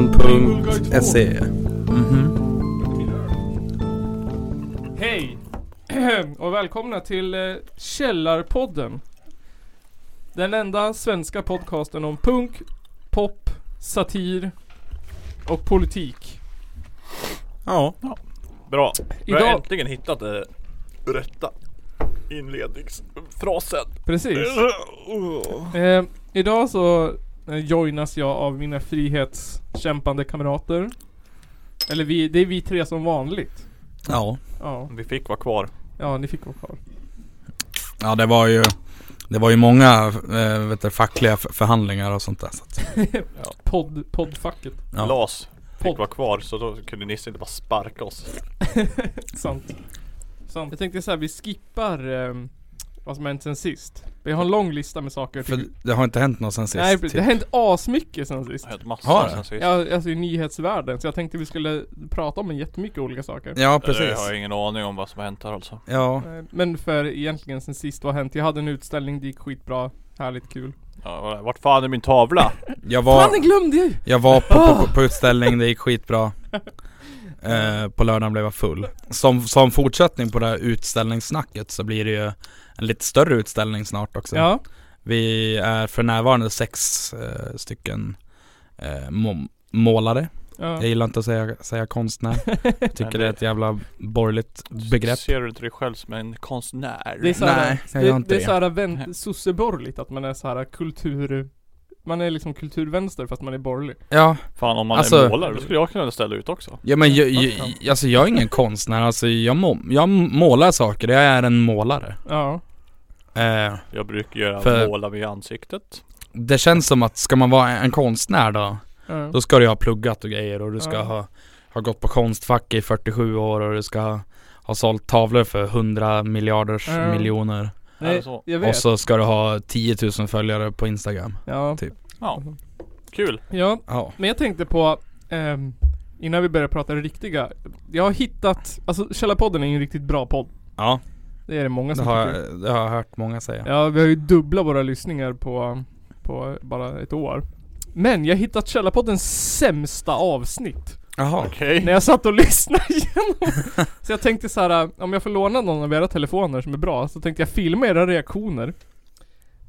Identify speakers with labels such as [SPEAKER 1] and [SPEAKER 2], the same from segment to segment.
[SPEAKER 1] Källarpodden.se
[SPEAKER 2] Mhm.
[SPEAKER 3] Hej! Och välkomna till eh, Källarpodden. Den enda svenska podcasten om punk, pop, satir och politik.
[SPEAKER 1] Ja,
[SPEAKER 4] Bra. Vi har
[SPEAKER 3] Idag-
[SPEAKER 4] äntligen hittat det rätta inledningsfrasen.
[SPEAKER 3] Precis. Eh, idag så eh, joinas jag av mina frihetskämpande kamrater. Eller vi, det är vi tre som vanligt.
[SPEAKER 1] ja.
[SPEAKER 3] Ja,
[SPEAKER 4] Vi fick vara kvar.
[SPEAKER 3] ja ni fick vara kvar.
[SPEAKER 1] Ja det var ju Det var ju många eh, vet du, fackliga f- förhandlingar och sånt där så att,
[SPEAKER 3] Podd, poddfacket.
[SPEAKER 1] Ja.
[SPEAKER 4] Las
[SPEAKER 3] Podd.
[SPEAKER 4] fick vara kvar så då kunde Nisse inte bara sparka oss.
[SPEAKER 3] Sant. Sant. Jag tänkte så här, vi skippar ehm, vad som hänt sen sist. Vi har en lång lista med saker.
[SPEAKER 1] För
[SPEAKER 3] tycker-
[SPEAKER 1] det har inte hänt något sen sist
[SPEAKER 3] Nej, det har
[SPEAKER 1] typ.
[SPEAKER 3] hänt asmycket sen sist.
[SPEAKER 4] Det har hänt massor
[SPEAKER 1] Har det?
[SPEAKER 4] sen sist. Eh,
[SPEAKER 3] Ja, alltså i nyhetsvärlden. Så jag tänkte vi skulle prata om jättemycket olika saker.
[SPEAKER 1] Ja
[SPEAKER 4] Jag
[SPEAKER 1] precis
[SPEAKER 4] har ingen aning om vad som har hänt här alltså.
[SPEAKER 1] Ja,
[SPEAKER 3] Eh, Men för egentligen sen sist, vad har hänt? Jag hade en utställning, det gick skitbra. Härligt kul.
[SPEAKER 4] Ja, vart fan är min tavla?
[SPEAKER 1] jag
[SPEAKER 3] Fan,
[SPEAKER 1] var
[SPEAKER 3] det glömde jag ju!
[SPEAKER 1] Jag var på, på, på, på utställning, det gick skitbra eh, På lördagen blev jag full som, som fortsättning på det här utställningssnacket så blir det ju En lite större utställning snart också
[SPEAKER 3] Ja,
[SPEAKER 1] Vi är för närvarande sex eh, stycken eh, må- målare
[SPEAKER 3] ja.
[SPEAKER 1] Jag gillar inte att säga, säga konstnär Tycker det är ett jävla borgerligt begrepp
[SPEAKER 4] Ser du inte dig själv som en konstnär?
[SPEAKER 3] Det är såhär,
[SPEAKER 1] Nej, jag gör
[SPEAKER 3] det,
[SPEAKER 1] inte
[SPEAKER 3] det är
[SPEAKER 1] det.
[SPEAKER 3] såhär vän- sosseborgerligt att man är såhär kultur... Man är liksom kulturvänster fast man är borgerlig.
[SPEAKER 1] Ja,
[SPEAKER 4] Fan om man
[SPEAKER 1] Alltså-
[SPEAKER 4] är målare, då skulle jag kunna ställa ut också.
[SPEAKER 1] ja men jag, jag, alltså jag är ingen konstnär, alltså jag, må, jag målar saker, jag är en målare
[SPEAKER 3] Ja.
[SPEAKER 1] eh,
[SPEAKER 4] Jag brukar göra
[SPEAKER 1] För-
[SPEAKER 4] måla vid ansiktet.
[SPEAKER 1] Det känns som att ska man vara en konstnär då
[SPEAKER 3] ja.
[SPEAKER 1] Då ska du ha pluggat och grejer och du ska
[SPEAKER 3] Ja.
[SPEAKER 1] ha, ha gått på konstfack i 47 år och du ska ha, ha sålt tavlor för 100 miljarders
[SPEAKER 3] Ja.
[SPEAKER 1] miljoner.
[SPEAKER 4] Är
[SPEAKER 3] Nej,
[SPEAKER 4] det så?
[SPEAKER 3] jag
[SPEAKER 1] Och
[SPEAKER 3] vet.
[SPEAKER 1] så ska du ha 10 000 följare på Instagram.
[SPEAKER 3] Ja.
[SPEAKER 4] Kul.
[SPEAKER 3] ja,
[SPEAKER 1] Ja.
[SPEAKER 3] men jag tänkte på ehm, Innan vi börjar prata det riktiga Jag har hittat, alltså Källarpodden är ju en riktigt bra podd
[SPEAKER 1] Ja,
[SPEAKER 3] Det är det många
[SPEAKER 1] det
[SPEAKER 3] som
[SPEAKER 1] har,
[SPEAKER 3] tycker
[SPEAKER 1] jag- det har jag hört många säga.
[SPEAKER 3] Ja, vi har ju dubbla våra lyssningar på, på bara ett år Men jag har hittat Källarpoddens sämsta avsnitt
[SPEAKER 1] Jaha.
[SPEAKER 4] Okej.
[SPEAKER 3] När jag satt och lyssnade igenom Så jag tänkte så här: om jag får låna någon av era telefoner som är bra Så tänkte jag filma era reaktioner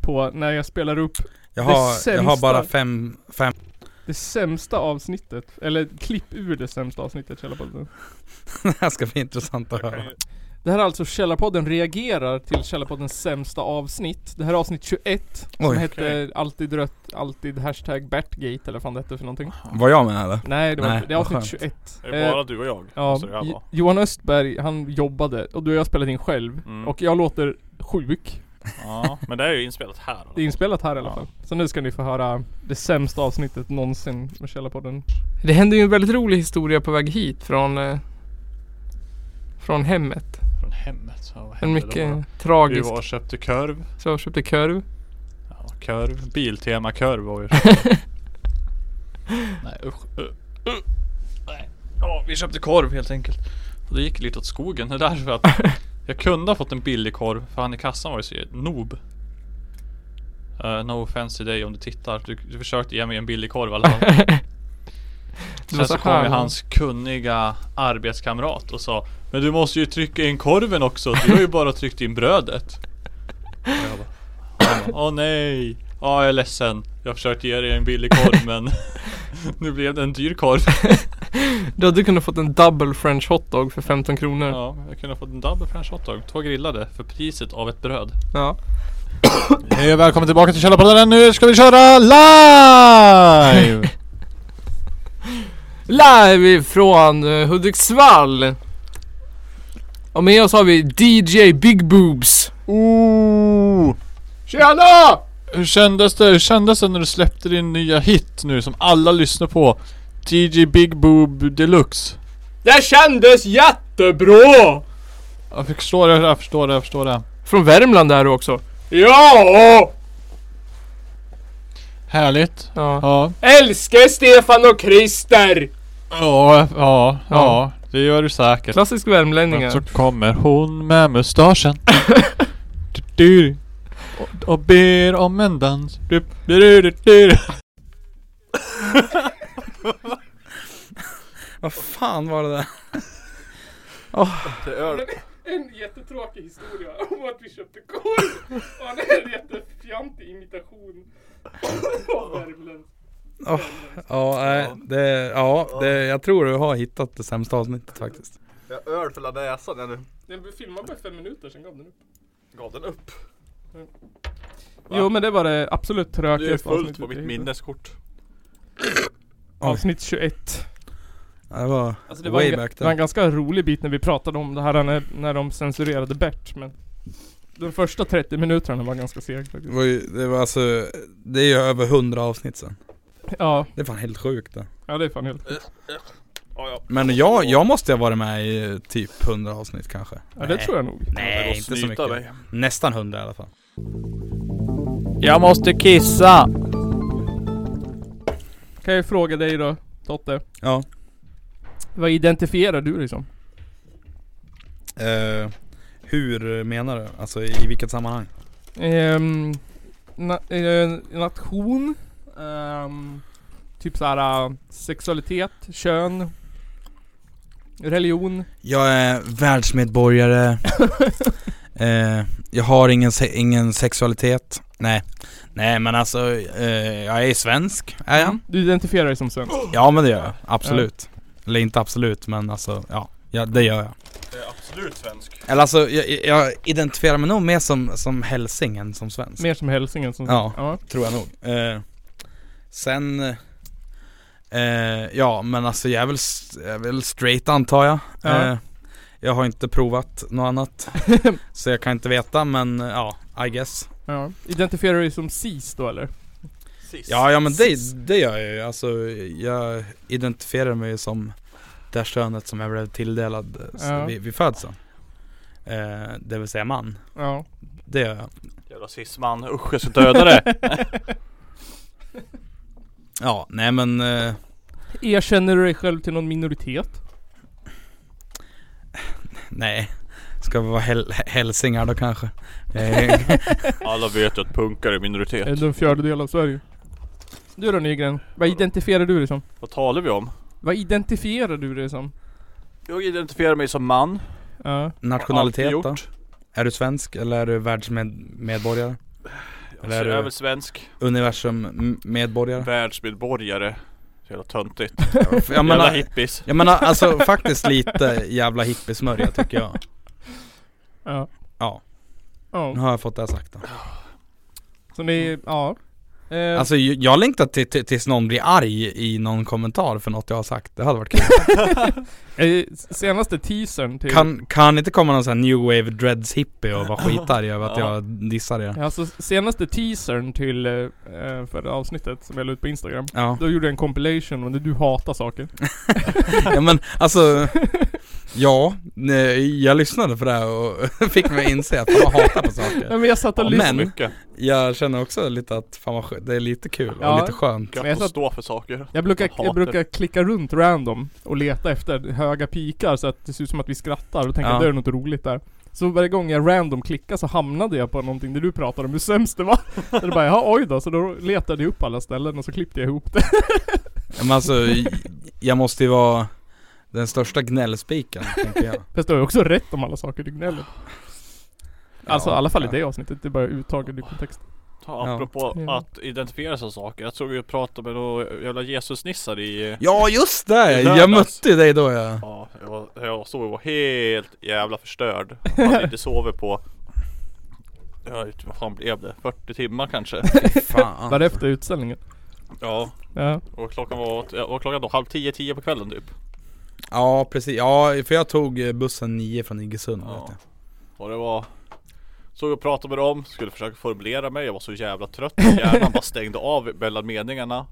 [SPEAKER 3] På när jag spelar upp
[SPEAKER 1] Jag har,
[SPEAKER 3] Det
[SPEAKER 1] jag har bara
[SPEAKER 3] sämsta.
[SPEAKER 1] fem, fem.
[SPEAKER 3] det sämsta avsnittet Eller klipp ur det sämsta avsnittet Källarpodden
[SPEAKER 1] det här ska bli intressant att
[SPEAKER 4] Jag
[SPEAKER 1] höra.
[SPEAKER 4] kan ju-
[SPEAKER 3] Det här är alltså Källarpodden reagerar till Källarpoddens sämsta avsnitt. Det här är avsnitt 21
[SPEAKER 1] Oj.
[SPEAKER 3] som hette Alltid rött, alltid hashtag Bertgate eller fan det hette för någonting.
[SPEAKER 1] Var jag med eller?
[SPEAKER 3] Nej, det, var
[SPEAKER 1] Nej,
[SPEAKER 3] inte. det är
[SPEAKER 1] vad
[SPEAKER 3] avsnitt
[SPEAKER 1] skönt.
[SPEAKER 3] 21.
[SPEAKER 4] Är det bara du och jag?
[SPEAKER 3] Eh, ja,
[SPEAKER 4] Så det här
[SPEAKER 3] Jo-
[SPEAKER 4] var.
[SPEAKER 3] Johan Östberg, han jobbade och du och jag spelade in själv.
[SPEAKER 4] Mm.
[SPEAKER 3] Och jag låter sjuk.
[SPEAKER 4] Ja, men det är ju inspelat här.
[SPEAKER 3] Det är inspelat här i alla
[SPEAKER 4] Ja.
[SPEAKER 3] fall. Så nu ska ni få höra det sämsta avsnittet någonsin med Källarpodden. Det hände ju en väldigt rolig historia på väg hit från eh, från hemmet.
[SPEAKER 4] Från hemmet. Så vad
[SPEAKER 5] En
[SPEAKER 4] hände
[SPEAKER 5] mycket
[SPEAKER 4] då? Vi
[SPEAKER 5] tragisk.
[SPEAKER 4] var och köpte korv.
[SPEAKER 5] Så jag köpte korv.
[SPEAKER 4] Ja, korv. Biltema korv var ju. Nej usch. Uh, uh. Nej. Ja, vi köpte korv helt enkelt. Och det gick lite åt skogen. Det där för att jag kunde ha fått en billig korv. För han i kassan var ju så noob. Eh, no offense till dig om du tittar. Du, du försökte ge mig en billig korv i alla fall.
[SPEAKER 5] Det var
[SPEAKER 4] Sen
[SPEAKER 5] så
[SPEAKER 4] så kom
[SPEAKER 5] här.
[SPEAKER 4] ju hans kunniga arbetskamrat och sa Men du måste ju trycka in korven också, du har ju bara tryckt in brödet Och jag bara, han bara, Åh nej, ja jag är ledsen Jag försökte ge dig en billig korv men Nu blev det en dyr korv
[SPEAKER 5] Du hade kunnat fått en double french hotdog för 15 kronor. Ja.
[SPEAKER 4] Ja, jag kunde ha fått en double french hotdog, två grillade för priset av ett bröd
[SPEAKER 6] Hej och välkommen tillbaka till Källarpodden. Nu ska vi köra live!
[SPEAKER 5] Live ifrån eh, Hudiksvall. Och med oss har vi DJ Big Boobs.
[SPEAKER 4] Ooh. Tjena! Oh! Hur kändes det? Hur kändes det när du släppte din nya hit nu som alla lyssnar på? DJ Big Boob Deluxe
[SPEAKER 5] Det kändes jättebra!
[SPEAKER 4] Jag förstår det, jag förstår det, jag förstår det.
[SPEAKER 5] Från Värmland är du också.
[SPEAKER 4] Ja! Härligt.
[SPEAKER 5] Ja.
[SPEAKER 4] Ja.
[SPEAKER 5] Älskar Stefan och Christer!
[SPEAKER 4] Ja, ja, ja. Det gör du säkert.
[SPEAKER 5] Klassisk
[SPEAKER 4] Men
[SPEAKER 5] värmlänningar.
[SPEAKER 4] så kommer hon med mustaschen. Du, du.
[SPEAKER 7] Och ber om en dans. Du, du, du, du, du.
[SPEAKER 1] Vad fan var det där?
[SPEAKER 3] En jättetråkig historia om att vi köpte korv och han är en jättefjantig imitation av värmländsk.
[SPEAKER 1] Åh, Ja, nej, det, ja det, jag tror du har hittat det sämsta avsnittet faktiskt
[SPEAKER 4] Jag har öl för hela näsan jag nu.
[SPEAKER 3] Den filmade bara fem minuter, sen gav den upp.
[SPEAKER 4] Gav den upp.
[SPEAKER 3] Jo men det var det absolut trökigaste
[SPEAKER 4] Det är fullt
[SPEAKER 3] avsnittet
[SPEAKER 4] på
[SPEAKER 3] jag
[SPEAKER 4] mitt
[SPEAKER 3] hittade.
[SPEAKER 4] minneskort.
[SPEAKER 3] Avsnitt 21.
[SPEAKER 1] Det var
[SPEAKER 3] Alltså det, var
[SPEAKER 1] way
[SPEAKER 3] en,
[SPEAKER 1] back
[SPEAKER 3] det var en
[SPEAKER 1] then
[SPEAKER 3] ganska rolig bit när vi pratade om det här när, när de censurerade Bert men De första 30 minuterna var ganska seg
[SPEAKER 1] det
[SPEAKER 3] faktiskt.
[SPEAKER 1] var, ju, det var alltså, det är ju över 100 avsnitt sen
[SPEAKER 3] Ja,
[SPEAKER 1] Det är fan helt sjukt det
[SPEAKER 3] ja det är fan helt
[SPEAKER 4] Ja, ja.
[SPEAKER 1] Men jag, jag måste ju ha varit med i eh, typ 100 avsnitt kanske
[SPEAKER 3] Ja det tror jag nog.
[SPEAKER 4] Det går
[SPEAKER 1] Nej,
[SPEAKER 4] att
[SPEAKER 1] inte så
[SPEAKER 4] snyta
[SPEAKER 1] mycket
[SPEAKER 4] dig.
[SPEAKER 1] Nästan 100 i alla fall
[SPEAKER 5] Jag måste kissa.
[SPEAKER 3] Kan jag fråga dig då Totte?
[SPEAKER 1] Ja
[SPEAKER 3] Vad identifierar du dig som?
[SPEAKER 1] eh, Hur menar du? Alltså i vilket sammanhang?
[SPEAKER 3] Ehm, na, eh, nation. ehm, typ såhär eh, sexualitet, kön. Religion.
[SPEAKER 1] Jag är världsmedborgare eh, Jag har ingen, se- ingen sexualitet Nej Nej men alltså, eh, jag är svensk, är jag?
[SPEAKER 3] Du identifierar dig som svensk.
[SPEAKER 1] Ja men det gör jag, absolut Eller inte absolut men alltså, ja, ja det gör jag
[SPEAKER 4] Jag är absolut svensk.
[SPEAKER 1] Eller alltså, jag, jag identifierar mig nog mer som, som hälsing än som svensk
[SPEAKER 3] Mer som hälsingen som
[SPEAKER 1] Ja.
[SPEAKER 3] ja.
[SPEAKER 1] Tror jag nog eh, Sen eh, Ja men alltså jag är väl, s- jag är väl straight antar jag
[SPEAKER 3] Ja.
[SPEAKER 1] eh, Jag har inte provat något annat Så jag kan inte veta men eh, ja, I guess
[SPEAKER 3] ja. Identifierar du dig som cis då eller?
[SPEAKER 4] Sist.
[SPEAKER 1] Ja ja men det, det gör jag ju Alltså jag identifierar mig ju som det könet som jag blev tilldelad
[SPEAKER 3] Ja.
[SPEAKER 1] ja. vid, vid födseln eh, Det vill säga man
[SPEAKER 3] Ja.
[SPEAKER 1] Det gör jag
[SPEAKER 4] Jävla cis-man. Usch jag ska döda dig.
[SPEAKER 1] Ja nej men eh,
[SPEAKER 3] Erkänner du dig själv till någon minoritet?
[SPEAKER 1] Nej Ska vi vara häl- hälsingar då kanske? Eh,
[SPEAKER 4] Alla vet ju att punkar är minoritet.
[SPEAKER 3] Eller en fjärdedel av Sverige? Du då Nygren? Vad identifierar du dig som?
[SPEAKER 4] Vad talar vi om?
[SPEAKER 3] Vad identifierar du dig som?
[SPEAKER 4] Jag identifierar mig som man.
[SPEAKER 3] Ja.
[SPEAKER 1] Nationalitet
[SPEAKER 4] Alltid
[SPEAKER 1] då?
[SPEAKER 4] gjort.
[SPEAKER 1] Är du svensk eller är du världsmedborgare?
[SPEAKER 4] Alltså,
[SPEAKER 1] är
[SPEAKER 4] jag är
[SPEAKER 1] du-
[SPEAKER 4] väl svensk.
[SPEAKER 1] Universummedborgare?
[SPEAKER 4] Världsmedborgare. Så jävla töntigt.
[SPEAKER 1] Jag
[SPEAKER 4] Jävla
[SPEAKER 1] menar,
[SPEAKER 4] hippies.
[SPEAKER 1] jag menar alltså faktiskt lite jävla hippiesmörja tycker jag
[SPEAKER 3] Ja.
[SPEAKER 1] Ja.
[SPEAKER 3] Ja.
[SPEAKER 1] Nu har jag fått det sagt då.
[SPEAKER 3] Så ni, ja. Eh,
[SPEAKER 1] Alltså ju- jag längtar till, till, tills någon blir arg i någon kommentar för något jag har sagt Det hade varit kul
[SPEAKER 3] eh, senaste teasern till...
[SPEAKER 1] Kan, kan inte komma någon sån här new wave dreads hippie och vara skitarg över att
[SPEAKER 4] Ja.
[SPEAKER 1] jag dissar er?
[SPEAKER 3] Alltså senaste teasern till eh, förra avsnittet som jag la ut på Instagram.
[SPEAKER 1] Ja,
[SPEAKER 3] Då gjorde jag en compilation om när du hatar saker.
[SPEAKER 1] ja men alltså Ja, nej, jag lyssnade på det här och fick mig inse att jag hatar på saker
[SPEAKER 3] Nej men jag satt och
[SPEAKER 1] Ja,
[SPEAKER 3] lyssnade.
[SPEAKER 1] men-
[SPEAKER 4] Mycket.
[SPEAKER 1] Jag känner också lite att fan vad skönt, det är lite kul och
[SPEAKER 3] Ja.
[SPEAKER 1] lite skönt
[SPEAKER 3] Men jag
[SPEAKER 4] Gött
[SPEAKER 3] satt-
[SPEAKER 4] att stå för saker.
[SPEAKER 3] Jag brukar,
[SPEAKER 4] Jag
[SPEAKER 3] jag
[SPEAKER 4] hatar.
[SPEAKER 3] brukar klicka runt random och leta efter höga pikar så att det ser ut som att vi skrattar och tänker
[SPEAKER 1] Ja.
[SPEAKER 3] att det är något roligt där. Så varje gång jag random klickar så hamnade jag på någonting där du pratade om hur sämst det var. Så det bara jaha oj då, så då letade jag upp alla ställen och så klippte jag ihop det.
[SPEAKER 1] Men alltså, jag måste ju vara den största gnällspiken tänker jag
[SPEAKER 3] Fast du har ju också rätt om alla saker du gnäller. Alltså i
[SPEAKER 1] Ja,
[SPEAKER 3] alla fall i
[SPEAKER 1] ja.
[SPEAKER 3] det avsnittet, det är bara uttaget ur kontext.
[SPEAKER 1] Ja.
[SPEAKER 4] Ja, apropå
[SPEAKER 3] Ja.
[SPEAKER 4] att identifiera sig med saker. Jag såg ju och pratade med några jävla Jesusnissar i...
[SPEAKER 1] Ja just det!
[SPEAKER 4] I
[SPEAKER 1] Jag
[SPEAKER 4] lördags.
[SPEAKER 1] mötte ju dig då ja
[SPEAKER 4] Ja, jag, var, jag såg och var helt jävla förstörd. Jag hade inte sovit på... Jag vet inte, vad fan blev det? 40 timmar kanske?
[SPEAKER 1] Fan.
[SPEAKER 3] Var det efter utställningen?
[SPEAKER 4] Ja,
[SPEAKER 3] Ja.
[SPEAKER 4] och klockan var, var klockan då halv tio, tio på kvällen typ.
[SPEAKER 1] Ja precis, ja för jag tog eh, bussen 9 från Iggesund
[SPEAKER 4] Ja.
[SPEAKER 1] vet jag.
[SPEAKER 4] Och det var... Såg och pratade med dem, skulle försöka formulera mig, jag var så jävla trött Hjärnan bara stängde av mellan meningarna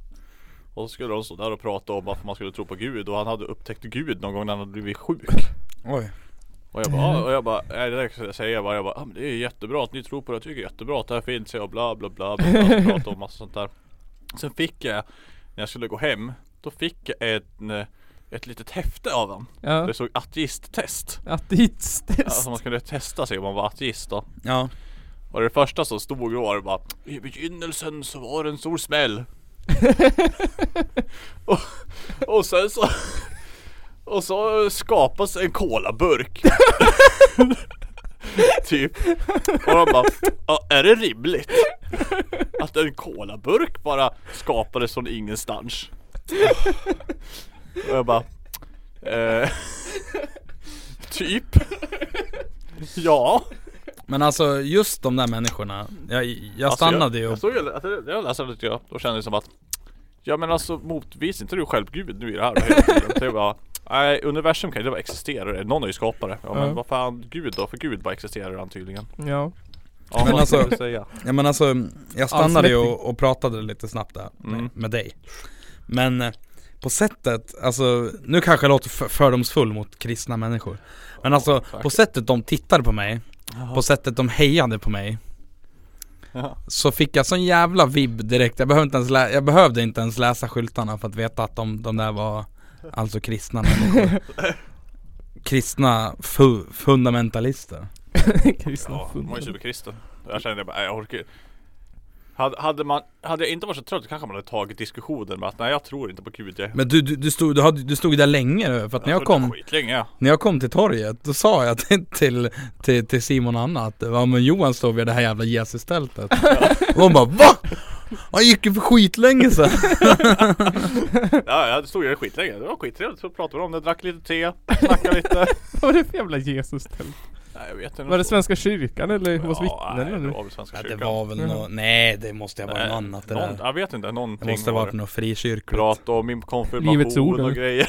[SPEAKER 4] Och så skulle de stå där och prata om varför man skulle tro på Gud och han hade upptäckt Gud någon gång när han hade blivit sjuk
[SPEAKER 1] Oj
[SPEAKER 4] Och jag bara, ja, och jag bara, nej det där kan jag säga jag bara, jag bara, ja, men det är jättebra att ni tror på det, jag tycker det är jättebra att det här finns, jag bla bla bla, bla, bla och pratade om massa sånt där Sen fick jag, när jag skulle gå hem, då fick jag en, eh, ett litet häfte av honom
[SPEAKER 3] Ja.
[SPEAKER 4] Det stod ateisttest
[SPEAKER 3] Ateisttest.
[SPEAKER 4] Alltså man skulle testa sig om man var ateist då
[SPEAKER 1] Ja,
[SPEAKER 4] Och det första som stod då var det bara I begynnelsen så var det en stor smäll och, och sen så Och så skapas en kolaburk Typ Och de bara "Ja, Är det rimligt? Att en kolaburk bara skapades från ingenstans Och jag bara eh, Typ Ja
[SPEAKER 1] Men alltså just de där människorna Jag, jag
[SPEAKER 4] Alltså,
[SPEAKER 1] stannade ju
[SPEAKER 4] Jag, jag, såg, ju- alltså, jag läste det jag, då kände det som att Ja men alltså motvis inte du själv Gud nu i det här då hela tiden. Det är bara, Nej universum kan ju inte bara existera, någon är ju skapare. Ja men
[SPEAKER 3] Ja.
[SPEAKER 4] vad fan Gud då? För Gud bara existerar han tydligen.
[SPEAKER 3] Ja.
[SPEAKER 4] Ja,
[SPEAKER 1] Men
[SPEAKER 4] vad
[SPEAKER 1] alltså-
[SPEAKER 4] ska du säga?
[SPEAKER 1] Ja men alltså, jag stannade ju
[SPEAKER 3] Allsmäktig.
[SPEAKER 1] och, och pratade lite snabbt där med,
[SPEAKER 4] Mm.
[SPEAKER 1] med dig Men eh, på sättet, alltså nu kanske jag låter för, fördomsfull mot kristna människor Men alltså på sättet de tittade på mig, på sättet de hejade på mig
[SPEAKER 4] Ja.
[SPEAKER 1] Så fick jag sån jävla vibb direkt, jag behövde inte ens, lä- jag behövde inte ens läsa skyltarna för att veta att de, de där var alltså kristna människor Kristna fu- fundamentalister
[SPEAKER 3] Kristna
[SPEAKER 4] Ja, de var ju
[SPEAKER 3] fundament.
[SPEAKER 4] superkristen. Jag kände bara, nej jag orkar inte. hade, hade man, hade jag inte varit så trött kanske man hade tagit diskussionen med att nej jag tror inte på Gud. Jag,
[SPEAKER 1] Men du, du, du, stod, du, hade, du stod där länge nu, för att när jag
[SPEAKER 4] trodde
[SPEAKER 1] kom
[SPEAKER 4] Skitlänge ja.
[SPEAKER 1] När jag kom till torget, då sa jag till, till, till, till Simon och Anna att ja, men Johan står vid det här jävla Jesus-tältet Och de bara VA? Han gick ju för skitlänge sedan
[SPEAKER 4] ja. Jag stod ju där skitlänge. Det var skittrevligt. Så pratade vi om det, drack lite te, snackade lite.
[SPEAKER 3] Vad var det för jävla Jesus tält?
[SPEAKER 4] Nej jag vet inte.
[SPEAKER 3] Var det Svenska kyrkan eller Jehovas
[SPEAKER 4] Ja, nej,
[SPEAKER 3] vittnen
[SPEAKER 4] det
[SPEAKER 3] eller?
[SPEAKER 4] var väl Svenska
[SPEAKER 1] ja,
[SPEAKER 4] kyrkan.
[SPEAKER 1] Det var väl
[SPEAKER 3] Mhm.
[SPEAKER 1] nå nej det måste ha varit något annat det
[SPEAKER 4] någon,
[SPEAKER 1] där
[SPEAKER 4] Jag vet inte, någonting
[SPEAKER 1] Det måste ha
[SPEAKER 4] var
[SPEAKER 1] varit något frikyrkligt
[SPEAKER 4] Prat om min konfirmation
[SPEAKER 3] Livets ord, eller?
[SPEAKER 4] och grejer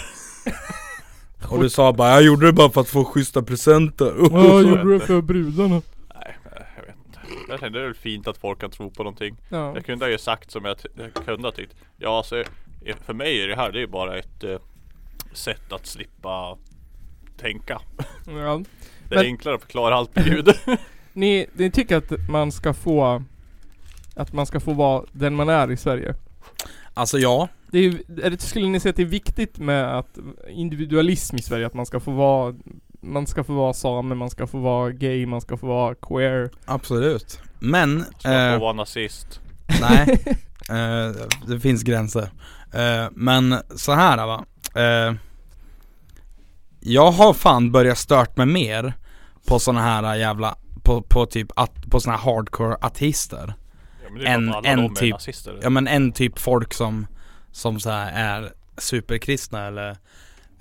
[SPEAKER 1] Och du sa bara 'Jag gjorde det bara för att få schyssta presenter'
[SPEAKER 3] Ja,
[SPEAKER 4] så
[SPEAKER 3] gjorde
[SPEAKER 4] är
[SPEAKER 3] du
[SPEAKER 4] det.
[SPEAKER 3] det för brudarna?
[SPEAKER 4] Nej, nej, jag vet inte Jag kände det är väl fint att folk kan tro på någonting
[SPEAKER 3] Ja.
[SPEAKER 4] Jag kunde ha ju sagt som jag, ty- jag kunde ha tyckt Ja alltså, eh, för mig är det här det är ju bara ett eh, sätt att slippa tänka
[SPEAKER 3] ja.
[SPEAKER 4] Det är
[SPEAKER 3] Men-
[SPEAKER 4] enklare att förklara allt med Gud
[SPEAKER 3] Ni, ni tycker att man ska få att man ska få vara den man är i Sverige?
[SPEAKER 1] Alltså ja,
[SPEAKER 3] Det är, ju- är det, skulle ni säga att det är viktigt med att individualism i Sverige? Att man ska få vara man ska få vara same, man ska få vara gay, man ska få vara queer.
[SPEAKER 1] absolut Men,
[SPEAKER 4] Ska jag
[SPEAKER 1] eh,
[SPEAKER 4] få vara nazist?
[SPEAKER 1] nej eh, Det finns gränser eh, Men så här va eh, Jag har fan börjat stört mig mer På såna här jävla på, på typ att, på såna här hardcore ateister
[SPEAKER 4] Ja, men det är
[SPEAKER 1] En-
[SPEAKER 4] en, alla
[SPEAKER 1] en
[SPEAKER 4] de är
[SPEAKER 1] typ.
[SPEAKER 4] nazister
[SPEAKER 1] Ja men en typ folk som Som så här är superkristna eller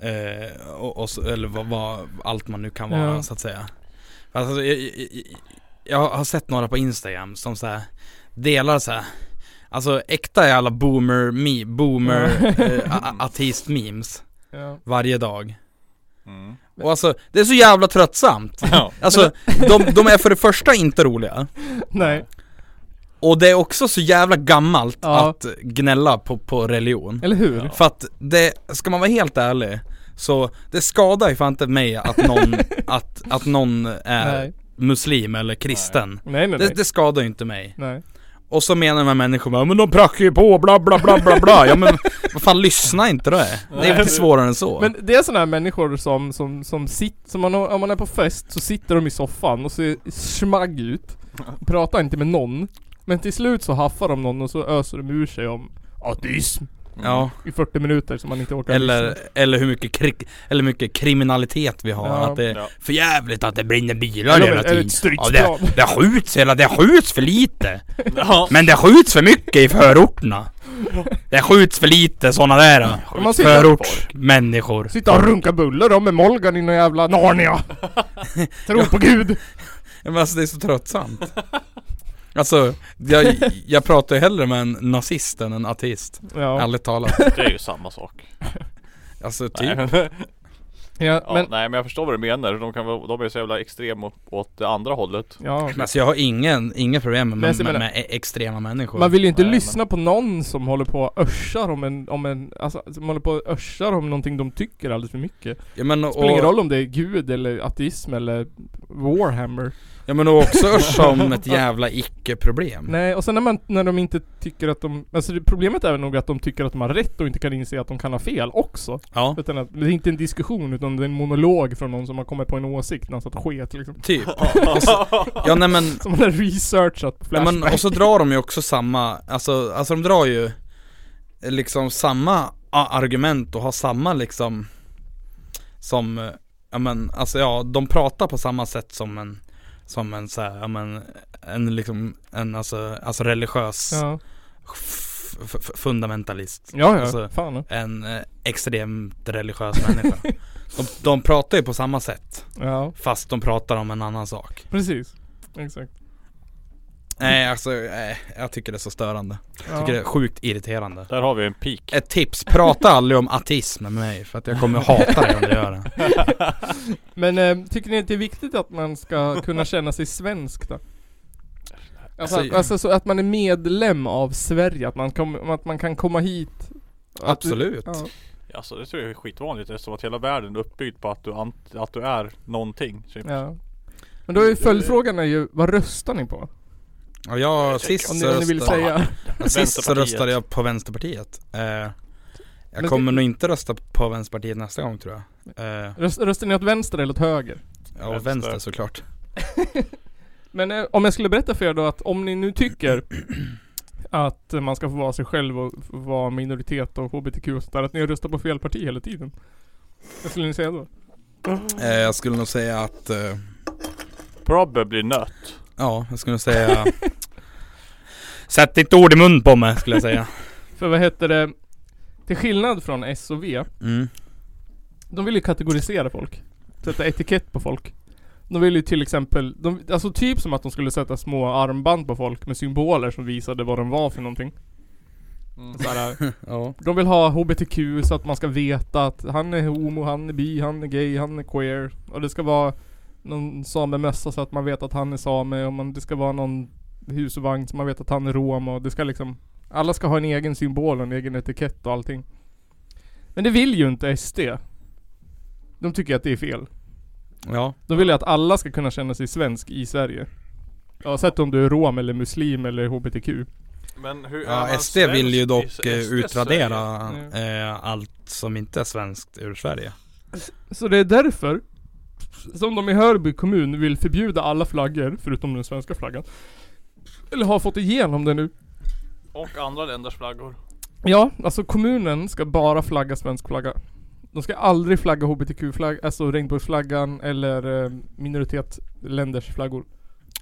[SPEAKER 1] eh, och, och, så- Eller vad, vad allt man nu kan vara
[SPEAKER 3] Ja.
[SPEAKER 1] så att säga alltså, jag, jag, jag- jag har sett några på Instagram som så här Delar så här Alltså äkta jävla boomer, me, boomer eh, a- a- ateist memes
[SPEAKER 3] Ja.
[SPEAKER 1] varje dag
[SPEAKER 4] mm.
[SPEAKER 1] Och alltså det är så jävla tröttsamt
[SPEAKER 4] ja.
[SPEAKER 1] Alltså de, de är för det första inte roliga
[SPEAKER 3] Nej.
[SPEAKER 1] Och det är också så jävla gammalt
[SPEAKER 3] Ja.
[SPEAKER 1] att gnälla på, på religion
[SPEAKER 3] Eller hur?
[SPEAKER 1] För att det, ska man vara helt ärlig Så det skadar ju fan inte mig att någon, att, att någon är
[SPEAKER 3] Nej.
[SPEAKER 1] muslim eller kristen
[SPEAKER 3] Nej, nej, nej.
[SPEAKER 1] det, det skadar ju inte mig
[SPEAKER 3] nej.
[SPEAKER 1] Och så menar de här människorna "Ja, men de prackar ju på bla bla bla bla bla Ja men vad fan lyssna inte då eh. Det är inte svårare än så
[SPEAKER 3] Men det är sådana här människor som, som, som sitter, som man, har- om man är på fest så sitter de i soffan och ser smagg ut. Pratar inte med någon. Men till slut så haffar de någon och så öser de ur sig om ateism
[SPEAKER 1] Ja,
[SPEAKER 4] Mm.
[SPEAKER 3] i 40 minuter som man inte orkar
[SPEAKER 1] eller,
[SPEAKER 3] lyssna.
[SPEAKER 1] eller hur mycket, krig, eller hur mycket kriminalitet vi har
[SPEAKER 3] Ja.
[SPEAKER 1] Att det är
[SPEAKER 4] Ja.
[SPEAKER 1] för jävligt att det brinner bilar
[SPEAKER 3] Eller,
[SPEAKER 1] hela
[SPEAKER 3] eller
[SPEAKER 1] tiden
[SPEAKER 3] ett
[SPEAKER 1] ja, det,
[SPEAKER 3] stridsplan.
[SPEAKER 1] det skjuts hela, det skjuts för lite
[SPEAKER 4] Ja.
[SPEAKER 1] Men det skjuts för mycket i förorterna. Det skjuts för lite sådana där äh,
[SPEAKER 3] Men man sitter,
[SPEAKER 1] förortsmänniskor.
[SPEAKER 3] sitter och runkar bullar då med Molgan i någon jävla Narnia. Tro på gud.
[SPEAKER 1] Men alltså det är så tröttsamt. Alltså, jag, jag pratar ju hellre med en nazist än en ateist.
[SPEAKER 3] Ja.
[SPEAKER 1] Ärligt talat.
[SPEAKER 4] Det är ju samma sak
[SPEAKER 1] Alltså typ.
[SPEAKER 4] Nej.
[SPEAKER 3] ja
[SPEAKER 4] Ja,
[SPEAKER 3] men,
[SPEAKER 4] nej men jag förstår vad du menar, de, kan, vara- de är så jävla extrema åt- åt det andra hållet
[SPEAKER 3] ja.
[SPEAKER 1] Men alltså jag har ingen, ingen problem med,
[SPEAKER 3] Men jag
[SPEAKER 1] med,
[SPEAKER 3] menar-
[SPEAKER 1] med, e- extrema människor.
[SPEAKER 3] Man vill ju inte
[SPEAKER 4] Nej, men-
[SPEAKER 3] lyssna på någon som håller på och örsar om en, om en, alltså som håller på och örsar om någonting de tycker alldeles för mycket.
[SPEAKER 1] ja, men,
[SPEAKER 3] Det spelar ingen
[SPEAKER 1] och,
[SPEAKER 3] roll om det är gud eller ateism eller Warhammer.
[SPEAKER 1] Ja men och också som ett jävla icke-problem.
[SPEAKER 3] Nej, och sen när, man, när de inte tycker att de... Alltså det- problemet är nog att de tycker att de har rätt och inte kan inse att de kan ha fel också.
[SPEAKER 1] Ja,
[SPEAKER 3] Utan att, det är inte en diskussion utan det är en monolog från någon som har kommit på en åsikt när han satt och sket liksom.
[SPEAKER 1] typ. Och så- Ja nej men
[SPEAKER 3] Som man har researchat på
[SPEAKER 1] Ja,
[SPEAKER 3] Flashback.
[SPEAKER 1] men, och så drar de ju också samma, alltså, alltså de drar ju eh, liksom samma a- argument och har samma liksom som, eh, ja men alltså ja, de pratar på samma sätt som en, som en så här, ja men en liksom, en alltså, alltså religiös
[SPEAKER 3] Ja,
[SPEAKER 1] f- f- fundamentalist.
[SPEAKER 3] ja, ja.
[SPEAKER 1] Alltså-
[SPEAKER 3] fan. ja.
[SPEAKER 1] En eh, extremt religiös människa. De, de pratar ju på samma sätt,
[SPEAKER 3] Ja,
[SPEAKER 1] fast de pratar om en annan sak.
[SPEAKER 3] precis. Exakt.
[SPEAKER 1] Nej alltså, eh, jag tycker det är så störande. Jag tycker det är sjukt irriterande.
[SPEAKER 4] Där har vi en peak.
[SPEAKER 1] Ett tips, prata aldrig om ateism med mig för att jag kommer hata dig om du gör det.
[SPEAKER 3] Men eh, tycker ni att det är viktigt att man ska kunna känna sig svensk då? Alltså,
[SPEAKER 1] Alltså-
[SPEAKER 3] alltså, så att man är medlem av Sverige, att man, kom, att man kan komma hit. Att-
[SPEAKER 1] Absolut.
[SPEAKER 3] Ja.
[SPEAKER 4] Alltså det tror jag är skitvanligt eftersom att hela världen är uppbyggd på att du, ant- att du är någonting. Typ.
[SPEAKER 3] ja. Men då är ju följdfrågan är ju, vad röstar ni på?
[SPEAKER 1] Och jag,
[SPEAKER 3] Om
[SPEAKER 1] sist,
[SPEAKER 3] ni,
[SPEAKER 1] så
[SPEAKER 3] om ni vill
[SPEAKER 1] röstade-
[SPEAKER 3] säga.
[SPEAKER 1] sist så
[SPEAKER 4] Vänsterpartiet.
[SPEAKER 1] röstade jag på Vänsterpartiet. Eh, jag
[SPEAKER 3] Men det-
[SPEAKER 1] kommer nog inte rösta på Vänsterpartiet nästa gång tror jag. Eh,
[SPEAKER 3] Röst, röstar ni åt vänster eller åt höger?
[SPEAKER 1] ja, och vänster
[SPEAKER 4] Vänster.
[SPEAKER 1] såklart.
[SPEAKER 3] Men eh, om jag skulle berätta för er då att om ni nu tycker att eh, man ska få vara sig själv och f- vara minoritet och HBTQ och sådär, att ni har röstat på fel parti hela tiden. Vad skulle ni säga då?
[SPEAKER 1] Eh, jag skulle nog säga att, eh,
[SPEAKER 4] Probably nöt.
[SPEAKER 1] ja jag skulle nog säga Sätt ditt ord i mun på mig skulle jag säga.
[SPEAKER 3] För vad heter det? Till skillnad från S och V,
[SPEAKER 1] Mm.
[SPEAKER 3] de vill ju kategorisera folk. Sätta etikett på folk. De vill ju till exempel, de, alltså typ som att de skulle sätta små armband på folk med symboler som visade vad de var för någonting.
[SPEAKER 7] Mm.
[SPEAKER 3] Såhär,
[SPEAKER 1] Ja.
[SPEAKER 3] De vill ha HBTQ så att man ska veta att han är homo, han är bi, han är gay, han är queer. Och det ska vara någon samemössa så att man vet att han är same. Och man, det ska vara någon husvagn så man vet att han är rom. Och det ska liksom... Alla ska ha en egen symbol och en egen etikett och allting. Men det vill ju inte SD. De tycker att det är fel.
[SPEAKER 1] ja.
[SPEAKER 3] De vill ju att alla ska kunna känna sig svensk i Sverige. Oavsett om du är rom eller muslim eller HBTQ.
[SPEAKER 4] Men hur
[SPEAKER 1] Ja, SD vill ju dock eh, utradera eh, allt som inte är svenskt ur Sverige.
[SPEAKER 3] Så det är därför som de i Hörby kommun vill förbjuda alla flaggor, förutom den svenska flaggan. Eller har fått igenom det nu.
[SPEAKER 4] Och andra länders flaggor.
[SPEAKER 3] Ja, alltså kommunen ska bara flagga svensk flagga. De ska aldrig flagga HBTQ-flagg, alltså regnbågsflaggan eller eh, minoritetsländers flaggor.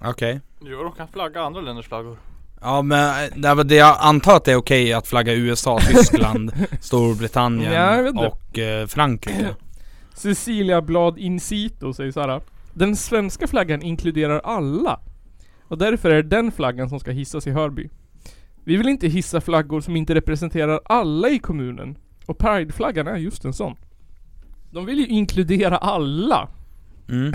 [SPEAKER 1] Okej.
[SPEAKER 4] Jo, de kan flagga andra länders flaggor.
[SPEAKER 1] Ja men eh, det, var det jag antar att det är okej att flagga USA, Tyskland, Storbritannien
[SPEAKER 3] Ja, jag vet inte.
[SPEAKER 1] och eh, Frankrike.
[SPEAKER 3] Cecilia Blad Incito säger såhär. Den svenska flaggan inkluderar alla. Och därför är det den flaggan som ska hissas i Hörby. Vi vill inte hissa flaggor som inte representerar alla i kommunen. Och Prideflaggan är just en sån. De vill ju inkludera alla.
[SPEAKER 1] Mm.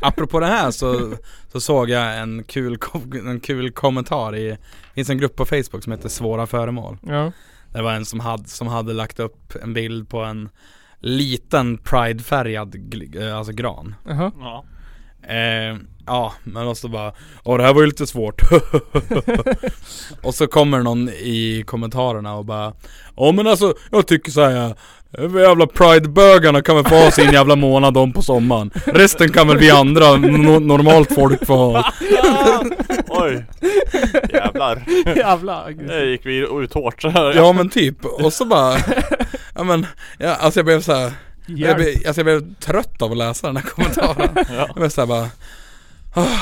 [SPEAKER 1] Apropå det här så, så såg jag en kul, kom- en kul kommentar i, det finns en grupp på Facebook som heter Svåra Föremål.
[SPEAKER 3] Ja.
[SPEAKER 1] Det var en som hade, som hade lagt upp en bild på en liten pridefärgad gl- eh, alltså gran.
[SPEAKER 3] Jaha.
[SPEAKER 4] Ja.
[SPEAKER 1] Eh, ja, men och så bara Åh det här var ju lite svårt Och så kommer någon i kommentarerna och bara Ja men alltså, jag tycker såhär Jävla pridebögarna kan väl få ha sin jävla månad om på sommaren Resten kan väl vi andra, no- normalt folk få ha
[SPEAKER 4] Oj. Jävlar.
[SPEAKER 3] Jävla
[SPEAKER 4] Det
[SPEAKER 3] aggressivt.
[SPEAKER 4] gick vi ut hårt. Ja.
[SPEAKER 1] Ja men typ, och så bara Ja men, ja, alltså jag blev såhär jag blev, alltså jag blev trött av att läsa den här kommentaren Jag blev såhär bara "Ah,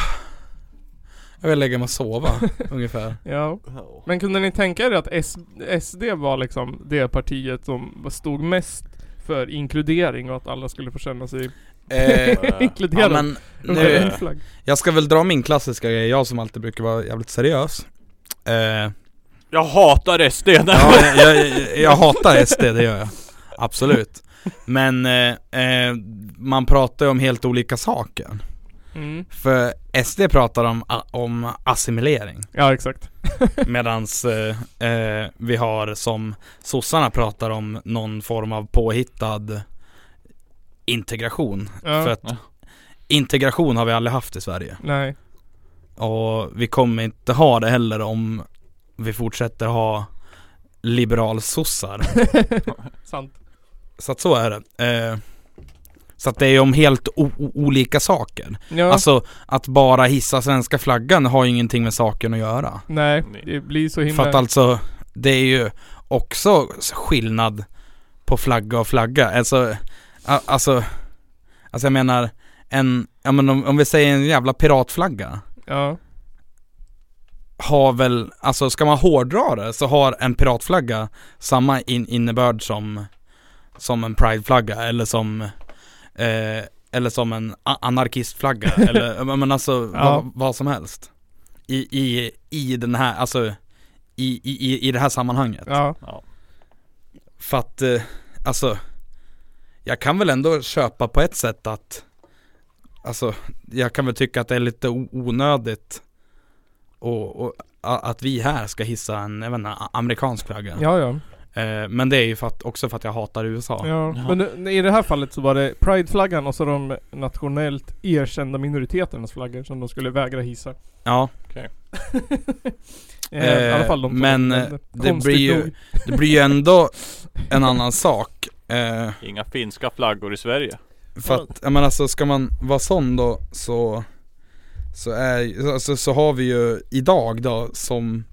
[SPEAKER 1] Jag vill lägga mig och sova ungefär
[SPEAKER 3] Ja. Men kunde ni tänka er att S- SD var liksom det partiet som stod mest för inkludering och att alla skulle få känna sig
[SPEAKER 1] Eh,
[SPEAKER 3] inkluderade?
[SPEAKER 1] ja, men
[SPEAKER 3] under
[SPEAKER 1] nu,
[SPEAKER 3] en flagg.
[SPEAKER 1] jag ska väl dra min klassiska grej, jag som alltid brukar vara jävligt seriös eh,
[SPEAKER 4] Jag hatar SD.
[SPEAKER 1] ja, jag, jag, jag hatar SD, det gör jag. Absolut. Men eh, eh, man pratar ju om helt olika saker.
[SPEAKER 3] Mm.
[SPEAKER 1] För SD pratar om, a- om assimilering.
[SPEAKER 3] Ja exakt.
[SPEAKER 1] Medans eh, eh, vi har som sossarna pratar om någon form av påhittad integration.
[SPEAKER 3] Ja.
[SPEAKER 1] För att integration har vi aldrig haft i Sverige.
[SPEAKER 3] Nej.
[SPEAKER 1] Och vi kommer inte ha det heller om vi fortsätter ha liberalsossar.
[SPEAKER 3] Sant.
[SPEAKER 1] Så att så är det. Eh, så att det är om helt o- o- olika saker.
[SPEAKER 3] Ja.
[SPEAKER 1] Alltså att bara hissa svenska flaggan har ju ingenting med saken att göra.
[SPEAKER 3] nej.
[SPEAKER 4] Nej.
[SPEAKER 3] Det blir så
[SPEAKER 1] För att
[SPEAKER 3] himla...
[SPEAKER 1] alltså, det är ju också skillnad på flagga och flagga. Alltså, a- alltså, alltså jag menar en, ja men om, om vi säger en jävla piratflagga
[SPEAKER 3] Ja.
[SPEAKER 1] har väl, alltså ska man hårdra det så har en piratflagga samma in, innebörd som, som en prideflagga eller som, eh, eller som en a- anarkistflagga eller, men men alltså
[SPEAKER 3] Ja.
[SPEAKER 1] vad, vad som helst. I, i, i den här, alltså i, i, i, i det här sammanhanget.
[SPEAKER 3] Ja.
[SPEAKER 1] För att, eh, alltså, jag kan väl ändå köpa på ett sätt att, alltså, jag kan väl tycka att det är lite o- onödigt och, och a- att vi här ska hissa en, jag vet inte, a- amerikansk flagga.
[SPEAKER 3] Ja, ja.
[SPEAKER 1] Eh, men det är ju för att, också för att jag hatar USA.
[SPEAKER 3] Ja,
[SPEAKER 4] Ja.
[SPEAKER 3] men det- i det här fallet så var det Pride-flaggan och så de nationellt erkända minoriteternas flaggor som de skulle vägra hissa.
[SPEAKER 1] Ja,
[SPEAKER 3] Eh, I alla fall de två
[SPEAKER 1] men,
[SPEAKER 3] länder.
[SPEAKER 1] eh, det
[SPEAKER 3] Konstigt
[SPEAKER 1] blir ju-
[SPEAKER 3] nog.
[SPEAKER 1] det blir ju ändå en annan sak. Eh,
[SPEAKER 4] Inga finska flaggor i Sverige.
[SPEAKER 1] För att, jag menar alltså ska man vara sån då så så, är, alltså, så har vi ju idag då som,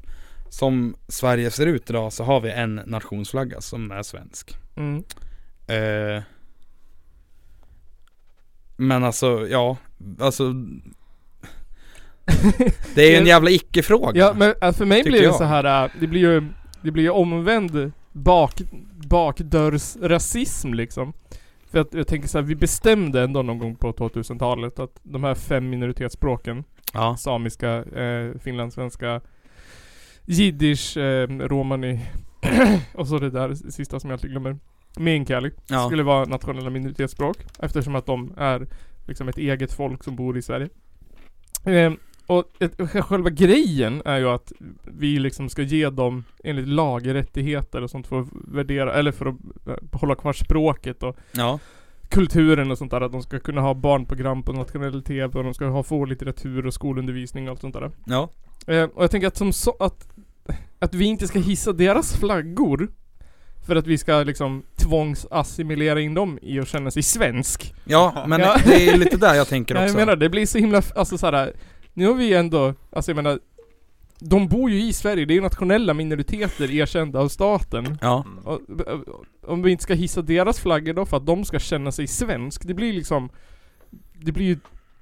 [SPEAKER 1] som Sverige ser ut idag så har vi en nationsflagga som är svensk.
[SPEAKER 3] Mm.
[SPEAKER 1] Eh, men alltså ja, alltså Det är ju en jävla icke-fråga.
[SPEAKER 3] Ja, men eh, för mig
[SPEAKER 1] Tycker
[SPEAKER 3] blir det
[SPEAKER 1] jag.
[SPEAKER 3] så här. eh, det blir ju, det blir ju omvänd bak, bakdörrsrasism liksom. För att jag tänker så här, vi bestämde ändå någon gång på 2000-talet att de här fem minoritetsspråken
[SPEAKER 1] ja.
[SPEAKER 3] samiska, eh, finlandssvenska, jiddisch, eh, romani och så det där sista som jag alltid glömmer. Meänkieli
[SPEAKER 1] Ja.
[SPEAKER 3] skulle vara nationella minoritetsspråk eftersom att de är liksom ett eget folk som bor i Sverige. Eh, och ett, själva grejen är ju att vi liksom ska ge dem enligt lag rättigheter och sånt för att värdera, eller för att eh, hålla kvar språket och
[SPEAKER 1] ja.
[SPEAKER 3] kulturen och sånt där. Att de ska kunna ha barnprogram på nationell TV och de ska ha få litteratur och skolundervisning och allt sånt där.
[SPEAKER 1] Ja.
[SPEAKER 3] Eh, och jag tänker att som så, att, att vi inte ska hissa deras flaggor. För att vi ska liksom tvångsassimilera in dem i att känna sig svensk.
[SPEAKER 1] Ja, men
[SPEAKER 3] Ja.
[SPEAKER 1] det är lite där jag tänker
[SPEAKER 3] Nej,
[SPEAKER 1] också.
[SPEAKER 3] jag menar det blir så himla, f- alltså såhär, nu har vi ändå, alltså jag menar, de bor ju i Sverige, det är ju nationella minoriteter erkända av staten.
[SPEAKER 1] Ja,
[SPEAKER 4] Mm.
[SPEAKER 3] Och- och- Om vi inte ska hissa deras flaggor då för att de ska känna sig svensk. Det blir liksom... Det blir ju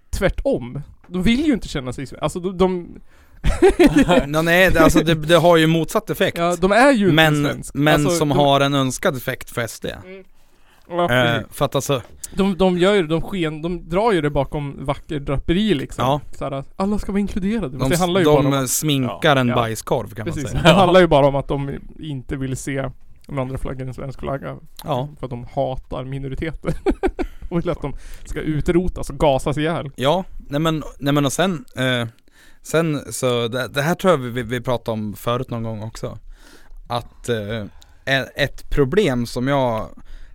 [SPEAKER 3] tvärtom. De vill ju inte känna sig svensk. Alltså de... de
[SPEAKER 1] Nå, nej det- alltså det, det har ju motsatt effekt.
[SPEAKER 3] ja, de är ju
[SPEAKER 1] men
[SPEAKER 3] inte svensk.
[SPEAKER 1] men
[SPEAKER 3] alltså,
[SPEAKER 1] som
[SPEAKER 3] de,
[SPEAKER 1] har en önskad effekt för SD.
[SPEAKER 3] Ja,
[SPEAKER 1] Eh,
[SPEAKER 3] precis.
[SPEAKER 1] för att alltså,
[SPEAKER 3] de, de gör ju, de sken, de drar ju det bakom vacker draperi liksom.
[SPEAKER 1] Ja.
[SPEAKER 3] Så här, att alla ska vara inkluderade.
[SPEAKER 1] de,
[SPEAKER 3] det handlar ju bara om...
[SPEAKER 1] de sminkar en
[SPEAKER 3] Ja.
[SPEAKER 1] bajskorv kan man
[SPEAKER 3] Precis. Det
[SPEAKER 1] säga.
[SPEAKER 3] handlar ju bara om att de inte vill se de andra flaggan i svensk flagga.
[SPEAKER 1] Ja,
[SPEAKER 3] För att de hatar minoriteter. och vill att de ska utrotas och gasas ihjäl.
[SPEAKER 1] ja. Nej, men, nej men och sen, eh, sen så, det, det här tror jag vi- vi, vi pratade om förut någon gång också. Att eh, e- ett problem som jag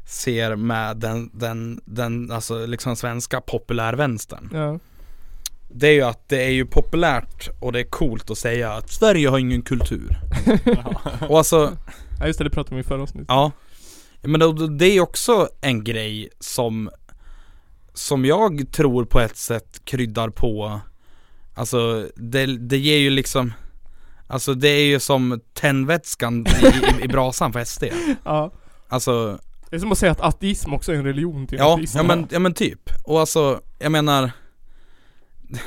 [SPEAKER 1] ser med den, den, den alltså liksom svenska populärvänstern.
[SPEAKER 3] Ja.
[SPEAKER 1] Det är ju att det är ju populärt och det är coolt att säga att Sverige har ingen kultur. och alltså,
[SPEAKER 3] Ja just det, det pratade vi om i förra avsnittet.
[SPEAKER 1] Ja Men då- då- det är också en grej som Som jag tror på ett sätt kryddar på Alltså det, det ger ju liksom Alltså det är ju som tändvätskan i, i, i brasan för SD
[SPEAKER 3] Ja.
[SPEAKER 1] Alltså
[SPEAKER 3] Det är som att säga att ateism också är en religion till
[SPEAKER 1] ja,
[SPEAKER 3] ateisterna.
[SPEAKER 1] ja, men, ja men typ Och alltså jag menar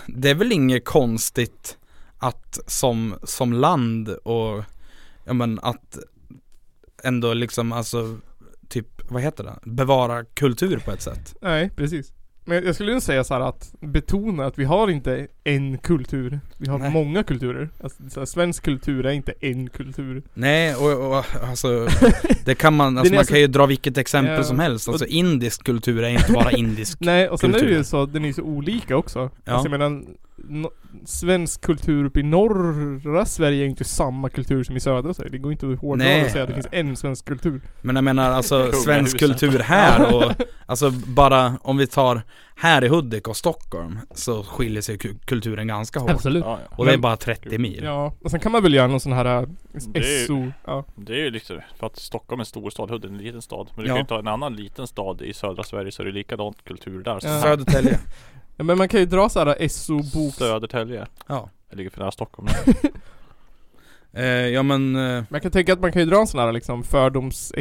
[SPEAKER 1] Det är väl inget konstigt att som, som land och Ja men att ändå liksom alltså Typ, vad heter det? Bevara kultur på ett sätt
[SPEAKER 3] Nej, precis. Men jag skulle nog säga så här att betona att vi har inte en kultur. Vi har
[SPEAKER 1] Nej.
[SPEAKER 3] många kulturer. Alltså, så här, svensk kultur är inte en kultur.
[SPEAKER 1] Nej och, och alltså Det kan man,
[SPEAKER 3] Den
[SPEAKER 1] alltså
[SPEAKER 3] är
[SPEAKER 1] man
[SPEAKER 3] så-
[SPEAKER 1] kan ju dra vilket exempel
[SPEAKER 3] Ja.
[SPEAKER 1] som helst Alltså indisk kultur är inte bara indisk
[SPEAKER 3] Nej, och sen är det
[SPEAKER 1] Kultur.
[SPEAKER 3] ju så, den är ju så olika också.
[SPEAKER 1] Ja.
[SPEAKER 3] Alltså jag menar, no, svensk kultur uppe i norra Sverige är inte samma kultur som i södra Sverige. Det går inte att hårdra
[SPEAKER 1] Nej.
[SPEAKER 3] och säga att det finns en svensk kultur.
[SPEAKER 1] Men jag menar alltså
[SPEAKER 4] Kungahuset.
[SPEAKER 1] svensk kultur här och Alltså bara om vi tar här i Hudik och Stockholm Så skiljer sig ku- kulturen ganska hårt
[SPEAKER 3] Absolut.
[SPEAKER 4] Ja, ja.
[SPEAKER 1] Och det är
[SPEAKER 3] Alltså, Men-
[SPEAKER 1] bara 30 mil
[SPEAKER 3] Ja, och sen kan man väl göra någon sån här
[SPEAKER 4] Det är ju-
[SPEAKER 3] eh, SO... Ja.
[SPEAKER 4] Det är ju liksom för att Stockholm är en stor stad, Huddinge är en liten stad. Men du
[SPEAKER 1] Ja.
[SPEAKER 4] kan ju ta en annan liten stad i södra Sverige så är det likadant kultur där.
[SPEAKER 3] Ja.
[SPEAKER 4] som
[SPEAKER 1] Södertälje
[SPEAKER 3] ja men man kan ju dra så här äh, SO-bok...
[SPEAKER 4] Södertälje.
[SPEAKER 1] Ja
[SPEAKER 4] Jag ligger för nära Stockholm.
[SPEAKER 1] eh, Ja men eh,
[SPEAKER 3] Man kan tänka att man kan ju dra en sån här liksom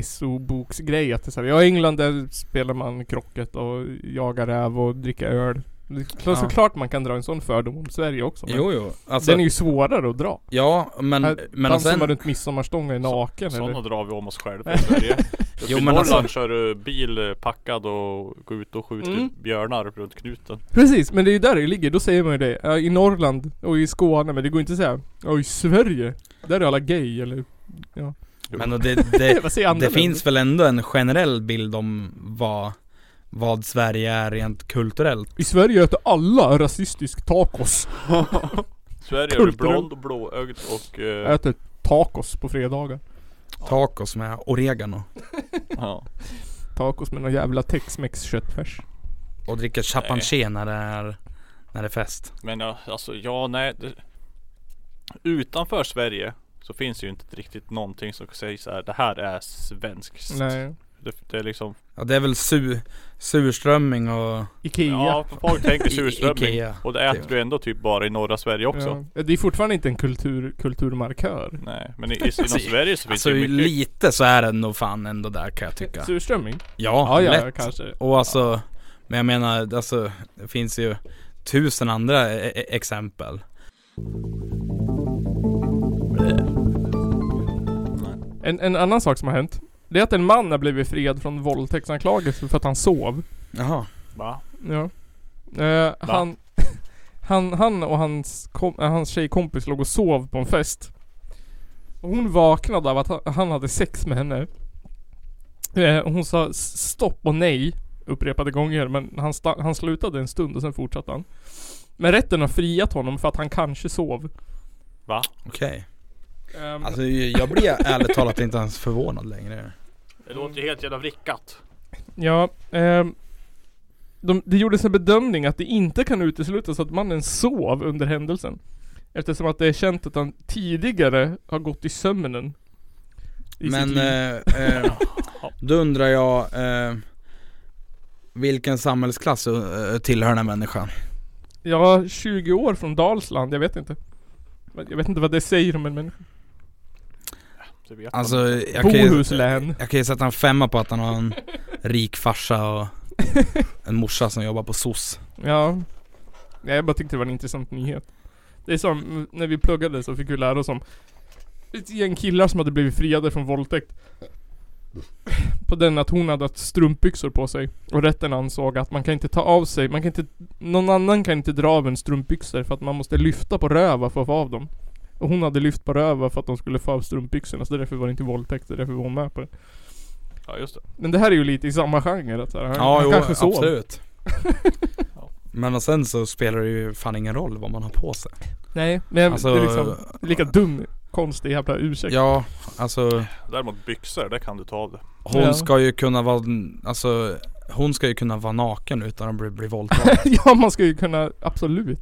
[SPEAKER 3] fördoms-SO-boksgrej att det är så här, ja i England där spelar man krocket och jagar räv och dricker öl. Det är klart-
[SPEAKER 1] Ja.
[SPEAKER 3] Såklart man kan dra en sån fördom om Sverige också. men
[SPEAKER 1] jo jo alltså,
[SPEAKER 3] den är ju svårare att dra.
[SPEAKER 1] Ja men,
[SPEAKER 3] Här
[SPEAKER 1] men
[SPEAKER 3] Dansar man
[SPEAKER 1] sen
[SPEAKER 3] runt midsommarstången och är naken
[SPEAKER 4] Sådana
[SPEAKER 3] eller?
[SPEAKER 4] drar vi om oss själva i Sverige.
[SPEAKER 1] Jo,
[SPEAKER 4] jo, I
[SPEAKER 1] men alltså-
[SPEAKER 4] Norrland kör du bil eh, packad och går ut och skjuter
[SPEAKER 3] Mm.
[SPEAKER 4] björnar runt knuten.
[SPEAKER 3] Precis, men det är ju där det ligger. Då säger man ju det. Ja, I Norrland och i Skåne, men det går inte att säga ja, i Sverige, där är alla gay eller?
[SPEAKER 1] Men och det, det,
[SPEAKER 3] Vad säger andra
[SPEAKER 1] det
[SPEAKER 3] länder?
[SPEAKER 1] finns väl ändå en generell bild om vad Vad Sverige är rent kulturellt
[SPEAKER 3] I Sverige äter alla rasistisk tacos.
[SPEAKER 4] Sverige är du
[SPEAKER 3] Kulturellt.
[SPEAKER 4] blond och blåögd och... eh,
[SPEAKER 3] Äter tacos på fredagar.
[SPEAKER 1] Tacos med oregano
[SPEAKER 4] ja.
[SPEAKER 3] Tacos med någon jävla tex-mex köttfärs.
[SPEAKER 1] Och dricka champagne när det är När det är fest
[SPEAKER 4] Men ja, alltså ja, nej. Det, utanför Sverige så finns det ju inte riktigt någonting som säger så här. Det här är svenskt.
[SPEAKER 3] Nej.
[SPEAKER 4] Det, det är liksom...
[SPEAKER 1] Ja det är väl su, surströmming och
[SPEAKER 3] Ikea.
[SPEAKER 4] Ja, folk tänker
[SPEAKER 1] I-
[SPEAKER 4] surströmming.
[SPEAKER 1] Ikea.
[SPEAKER 4] Och det äter du ändå typ bara i norra Sverige också.
[SPEAKER 3] Ja. Eh, Det är fortfarande inte en kultur, kulturmarkör.
[SPEAKER 4] Nej, men i, i, inom Sverige så finns
[SPEAKER 1] Alltså
[SPEAKER 4] det ju mycket...
[SPEAKER 1] lite så är det nog fan ändå där kan jag tycka
[SPEAKER 3] Surströmming?
[SPEAKER 1] Ja,
[SPEAKER 3] ja,
[SPEAKER 1] lätt
[SPEAKER 3] kanske.
[SPEAKER 1] Och alltså Men jag menar alltså Det finns ju tusen andra e- e- exempel
[SPEAKER 3] En, en annan sak som har hänt. Det är att en man har blivit friad från våldtäktsanklagelse för att han sov.
[SPEAKER 1] Jaha
[SPEAKER 4] Va?
[SPEAKER 3] Ja. Eh, han, han, han och hans, kom, eh, hans tjejkompis låg och sov på en fest. Och hon vaknade av att ha- han hade sex med henne. Eh, och hon sa "S- stopp och nej upprepade gånger men han, sta- han slutade en stund och sen fortsatte han. Men rätten har friat honom för att han kanske sov.
[SPEAKER 4] Va?
[SPEAKER 1] Okej
[SPEAKER 3] Ehm,
[SPEAKER 1] Alltså jag blir ärligt talat inte ens förvånad längre
[SPEAKER 4] Det låter ju helt jävla vrickat.
[SPEAKER 3] Ja, ehm, de, det gjordes en bedömning att det inte kan uteslutas att mannen sov under händelsen. Eftersom att det är känt att han tidigare har gått i sömnen. I sitt
[SPEAKER 1] Men
[SPEAKER 3] liv.
[SPEAKER 1] eh, eh, då undrar jag eh, Vilken samhällsklass eh, tillhör den här människan?
[SPEAKER 3] Ja, 20 år från Dalsland, jag vet inte. Men Jag vet inte vad det säger om en människa.
[SPEAKER 4] Det vet
[SPEAKER 1] Alltså
[SPEAKER 4] man.
[SPEAKER 1] jag kan ju,
[SPEAKER 3] Bohuslän.
[SPEAKER 1] jag kan ju sätta en femma på att han har en rik farsa och en morsa som jobbar på SOS
[SPEAKER 3] Ja. Nej, jag bara tyckte det var en intressant nyhet. Det är som mm, när vi pluggade så fick vi lära oss om ett gäng killar som hade blivit friade från våldtäkt. På den att hon hade haft strumpbyxor på sig. Och rätten ansåg att man kan inte ta av sig, man kan inte, någon annan kan inte dra av en strumpbyxor för att man måste lyfta på röva för att få av dem. Och hon hade lyft på röva för att de skulle få av strumpbyxorna så därför var det inte våldtäkt, så därför var hon med på det.
[SPEAKER 4] Ja just det.
[SPEAKER 3] Men det här är ju lite i samma genre att så här, han,
[SPEAKER 1] Ja
[SPEAKER 3] han
[SPEAKER 1] jo,
[SPEAKER 3] kanske sov.
[SPEAKER 1] absolut Men och sen så spelar det ju fan ingen roll vad man har på sig
[SPEAKER 3] Nej, men
[SPEAKER 1] Alltså,
[SPEAKER 3] det är liksom lika dum, konstig jävla ursäkt.
[SPEAKER 1] ja alltså
[SPEAKER 4] Däremot byxor, där kan du ta av det.
[SPEAKER 1] Hon
[SPEAKER 3] Ja.
[SPEAKER 1] ska ju kunna vara, alltså Hon ska ju kunna vara naken utan att bli, bli våldtagen
[SPEAKER 3] Ja, man ska ju kunna, absolut.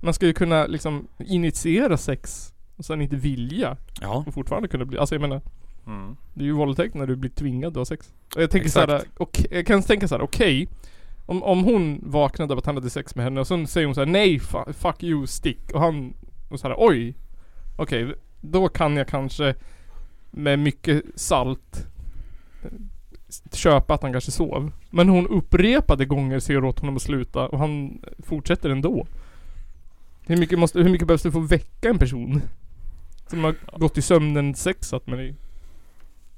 [SPEAKER 3] Man ska ju kunna liksom initiera sex och sen inte vilja
[SPEAKER 1] Ja
[SPEAKER 3] och fortfarande kunna bli, alltså jag menar
[SPEAKER 4] Mm.
[SPEAKER 3] det är ju våldtäkt när du blir tvingad att ha sex. Och jag tänker
[SPEAKER 1] Exakt.
[SPEAKER 3] såhär, okej, jag kan tänka såhär, okej. om, om hon vaknade av att han hade sex med henne och sen säger hon såhär, nej fa- fuck you stick. Och han, och såhär, oj. Okej, då kan jag kanske med mycket salt eh, s- köpa att han kanske sov. Men hon upprepade gånger ser åt honom att sluta och han fortsätter ändå. Hur mycket, måste, hur mycket behövs det för att väcka en person? Som har gått i sömnen sexat med dig.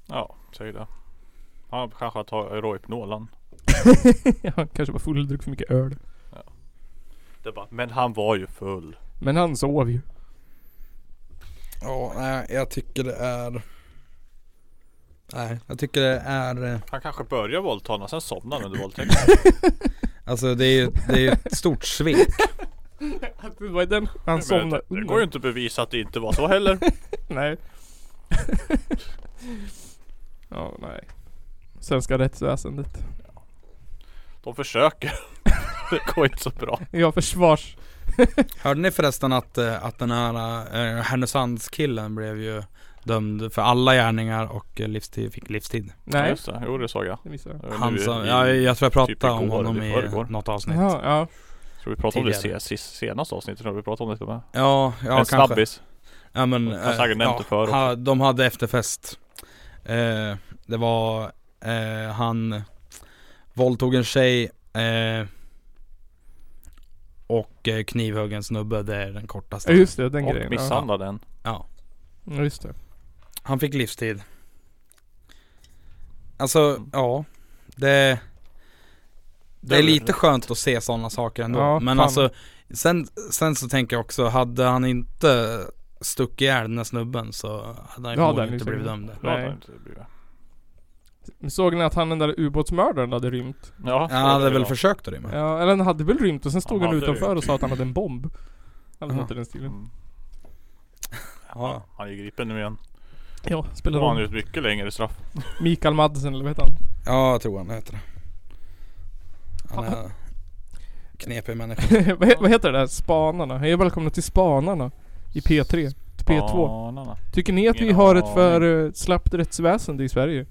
[SPEAKER 4] Ja, säg det. Han kanske tar Rohypnolen.
[SPEAKER 3] Ja, han kanske var full och druckit för mycket öl.
[SPEAKER 4] Det är bara, men han var ju full.
[SPEAKER 3] Men han sov ju.
[SPEAKER 1] Ja, nej jag tycker det är Nej, jag tycker det är eh,
[SPEAKER 4] Han kanske började våldta och sen somnade han under våldtäkten.
[SPEAKER 1] Alltså det är ju det är ju ett stort svek
[SPEAKER 3] Det var ju den han
[SPEAKER 4] Men
[SPEAKER 3] somnade
[SPEAKER 4] det, det går ju inte att bevisa att det inte var så heller.
[SPEAKER 3] Nej. ja, nej. Svenska rättsväsendet.
[SPEAKER 4] De försöker. det går inte så bra.
[SPEAKER 3] Ja, försvars...
[SPEAKER 1] Hörde ni förresten att, eh, att den här eh, Härnösandskillen blev ju dömd för alla gärningar och eh, livstid, fick livstid.
[SPEAKER 4] Ja,
[SPEAKER 3] Nej,
[SPEAKER 4] just det. Jo det såg jag.
[SPEAKER 3] det missade jag.
[SPEAKER 4] Det var nu
[SPEAKER 1] Han
[SPEAKER 4] i-
[SPEAKER 1] som,
[SPEAKER 4] i-
[SPEAKER 1] ja, jag tror jag pratade
[SPEAKER 4] typ
[SPEAKER 1] om
[SPEAKER 4] igår
[SPEAKER 1] honom
[SPEAKER 4] eller
[SPEAKER 1] i
[SPEAKER 4] förrgår.
[SPEAKER 1] något avsnitt. Ja,
[SPEAKER 3] Jaha, ja.
[SPEAKER 4] Tror vi pratade om det
[SPEAKER 1] Tidigare.
[SPEAKER 4] se, se, senaste avsnittet när vi pratade om det till och med.
[SPEAKER 1] ja,
[SPEAKER 4] en
[SPEAKER 1] kanske.
[SPEAKER 4] snabbis.
[SPEAKER 1] Ja men, eh,
[SPEAKER 4] Jag har säkert nämnt det förut
[SPEAKER 1] ha, de hade efterfest. Eh, det var, eh, han våldtog en tjej eh, och eh, knivhögg en snubbe, det är den kortaste.
[SPEAKER 3] Ja, just det. Den
[SPEAKER 4] Och
[SPEAKER 3] grejen.
[SPEAKER 4] misshandlade den.
[SPEAKER 3] Ja, Ja, just det.
[SPEAKER 1] Han fick livstid. Alltså,
[SPEAKER 3] Mm.
[SPEAKER 1] ja. Det, det är lite skönt att se sådana saker ändå.
[SPEAKER 3] Ja,
[SPEAKER 1] Men
[SPEAKER 3] fan.
[SPEAKER 1] alltså, sen, sen så tänker jag också, hade han inte stuckit ihjäl den där snubben så hade
[SPEAKER 3] Ja,
[SPEAKER 1] han
[SPEAKER 3] den
[SPEAKER 1] ju
[SPEAKER 3] är
[SPEAKER 1] förmodligen inte blivit
[SPEAKER 3] säkert-
[SPEAKER 1] dömd.
[SPEAKER 3] Nej.
[SPEAKER 4] Nej.
[SPEAKER 3] Såg ni att han den där ubåtsmördaren hade rymt?
[SPEAKER 4] Ja,
[SPEAKER 1] Han hade väl försökt att rymma.
[SPEAKER 3] Ja, eller han hade väl rymt och sen stod
[SPEAKER 4] Han
[SPEAKER 3] han,
[SPEAKER 4] hade
[SPEAKER 3] utanför
[SPEAKER 4] rymt.
[SPEAKER 3] och sa att han hade en bomb. Eller något i den stilen.
[SPEAKER 4] Mm.
[SPEAKER 1] Ja.
[SPEAKER 4] Han är ju gripen nu igen.
[SPEAKER 3] Ja,
[SPEAKER 4] Då
[SPEAKER 3] spelar
[SPEAKER 4] har han
[SPEAKER 3] roll.
[SPEAKER 4] ju ett mycket längre straff.
[SPEAKER 3] Mikael Madsen eller vad heter han?
[SPEAKER 1] ja, jag tror han heter det. Han
[SPEAKER 3] Fan.
[SPEAKER 1] är knepig människa.
[SPEAKER 3] vad, he- vad heter det där? Spanarna? Hej och välkomna till Spanarna. I P3. Till P2.
[SPEAKER 4] Spanarna.
[SPEAKER 3] Tycker ni att vi
[SPEAKER 4] Ingen
[SPEAKER 3] har ett för
[SPEAKER 4] aning.
[SPEAKER 3] uh, slappt rättsväsende i Sverige?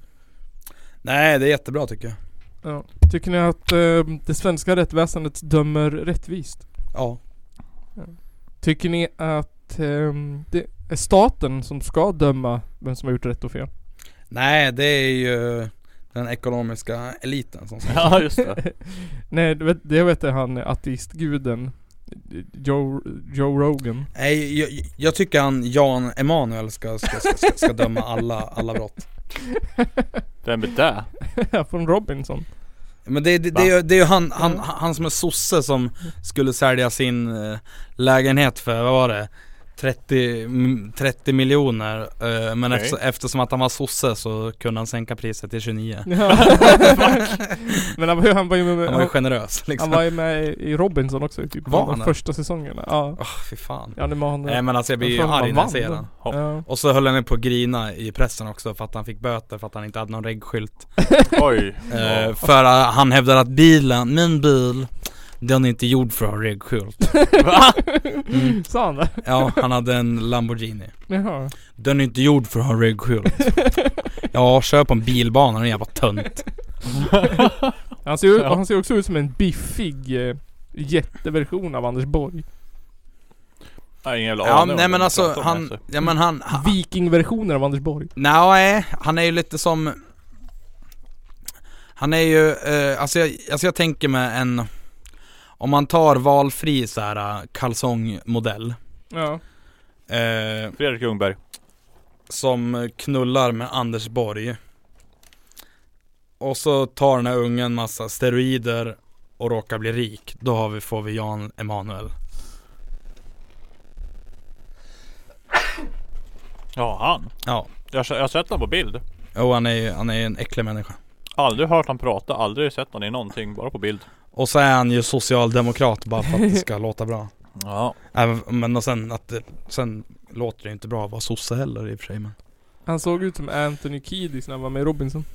[SPEAKER 1] Nej, det är jättebra tycker jag.
[SPEAKER 3] Ja. Tycker ni att eh, det svenska rättsväsendet dömer rättvist?
[SPEAKER 1] Ja.
[SPEAKER 3] Tycker ni att ehm, det är staten som ska döma vem som har gjort rätt och fel?
[SPEAKER 1] Nej, det är ju den ekonomiska eliten som ska
[SPEAKER 4] Ja just det.
[SPEAKER 3] Nej, det vet, det vet jag han ateistguden eh, Joe, Joe Rogan.
[SPEAKER 1] Nej, jag, jag tycker han Jan Emanuel ska, ska, ska, ska, ska döma alla, alla brott.
[SPEAKER 4] Vem är det?
[SPEAKER 3] Från Robinson.
[SPEAKER 1] Men det, det, det, är ju- det är ju han, han, han som är sosse som skulle sälja sin eh, lägenhet för, vad var det? 30, mm, 30 miljoner. eh, Men
[SPEAKER 4] Okej.
[SPEAKER 1] efter, eftersom att han var sosse så kunde han sänka priset till 29.
[SPEAKER 3] Ja. Men han var ju, han var ju med,
[SPEAKER 1] Han var ju generös liksom.
[SPEAKER 3] han var ju med i Robinson också i typ
[SPEAKER 1] Var
[SPEAKER 3] de
[SPEAKER 1] han det?
[SPEAKER 3] första säsongerna. Ja.
[SPEAKER 1] Åh, fy fan.
[SPEAKER 3] Ja, det var han.
[SPEAKER 1] Nej men alltså jag blir ju
[SPEAKER 3] Jag tror
[SPEAKER 1] arg
[SPEAKER 3] han
[SPEAKER 1] när jag
[SPEAKER 3] vann
[SPEAKER 1] ser
[SPEAKER 3] då.
[SPEAKER 1] den.
[SPEAKER 3] Ja.
[SPEAKER 1] Och så höll han på att grina i pressen också för att han fick böter för att han inte hade någon reggskylt.
[SPEAKER 4] Oj.
[SPEAKER 1] Eh, För att han hävdar att bilen, min bil, den är inte gjord för att ha regskylt.
[SPEAKER 4] Va?
[SPEAKER 1] Mm.
[SPEAKER 3] Sa han det?
[SPEAKER 1] Ja, han hade en Lamborghini.
[SPEAKER 3] Jaha.
[SPEAKER 1] Den är inte gjord för att ha regskylt. Ja, köp en bilbana, den jävla tönt.
[SPEAKER 3] Han ser, ju-
[SPEAKER 4] Ja.
[SPEAKER 3] han ser också ut som en biffig eh, jätteversion av Anders Borg.
[SPEAKER 4] Nej ingen jävla
[SPEAKER 1] Ja,
[SPEAKER 4] aning om
[SPEAKER 1] nej
[SPEAKER 4] vem
[SPEAKER 1] men
[SPEAKER 4] vi
[SPEAKER 1] alltså
[SPEAKER 4] pratar om
[SPEAKER 1] han,
[SPEAKER 4] ens.
[SPEAKER 1] ja men han, han
[SPEAKER 3] Vikingversionen av Anders Borg.
[SPEAKER 1] nej, han är ju lite som Han är ju, eh, alltså, jag, alltså jag tänker mig en Om man tar valfri så här eh, kalsongmodell
[SPEAKER 3] Ja.
[SPEAKER 1] eh,
[SPEAKER 4] Fredrik Ljungberg.
[SPEAKER 1] som knullar med Anders Borg. Och så tar den här ungen massa steroider och råkar bli rik. Då har vi, får vi Jan Emanuel.
[SPEAKER 4] Ja han.
[SPEAKER 1] Ja.
[SPEAKER 4] Jag, har- jag har sett honom på bild.
[SPEAKER 1] Och han är ju han är ju en äcklig människa.
[SPEAKER 4] Aldrig hört han prata, aldrig sett honom i någonting, bara på bild.
[SPEAKER 1] Och så är han ju socialdemokrat bara för att det ska låta bra.
[SPEAKER 4] Ja.
[SPEAKER 1] Även, men och sen att det, sen låter det ju inte bra att vara sosse heller i och för sig men.
[SPEAKER 3] Han såg ut som Anthony Kiedis när han var med i Robinson.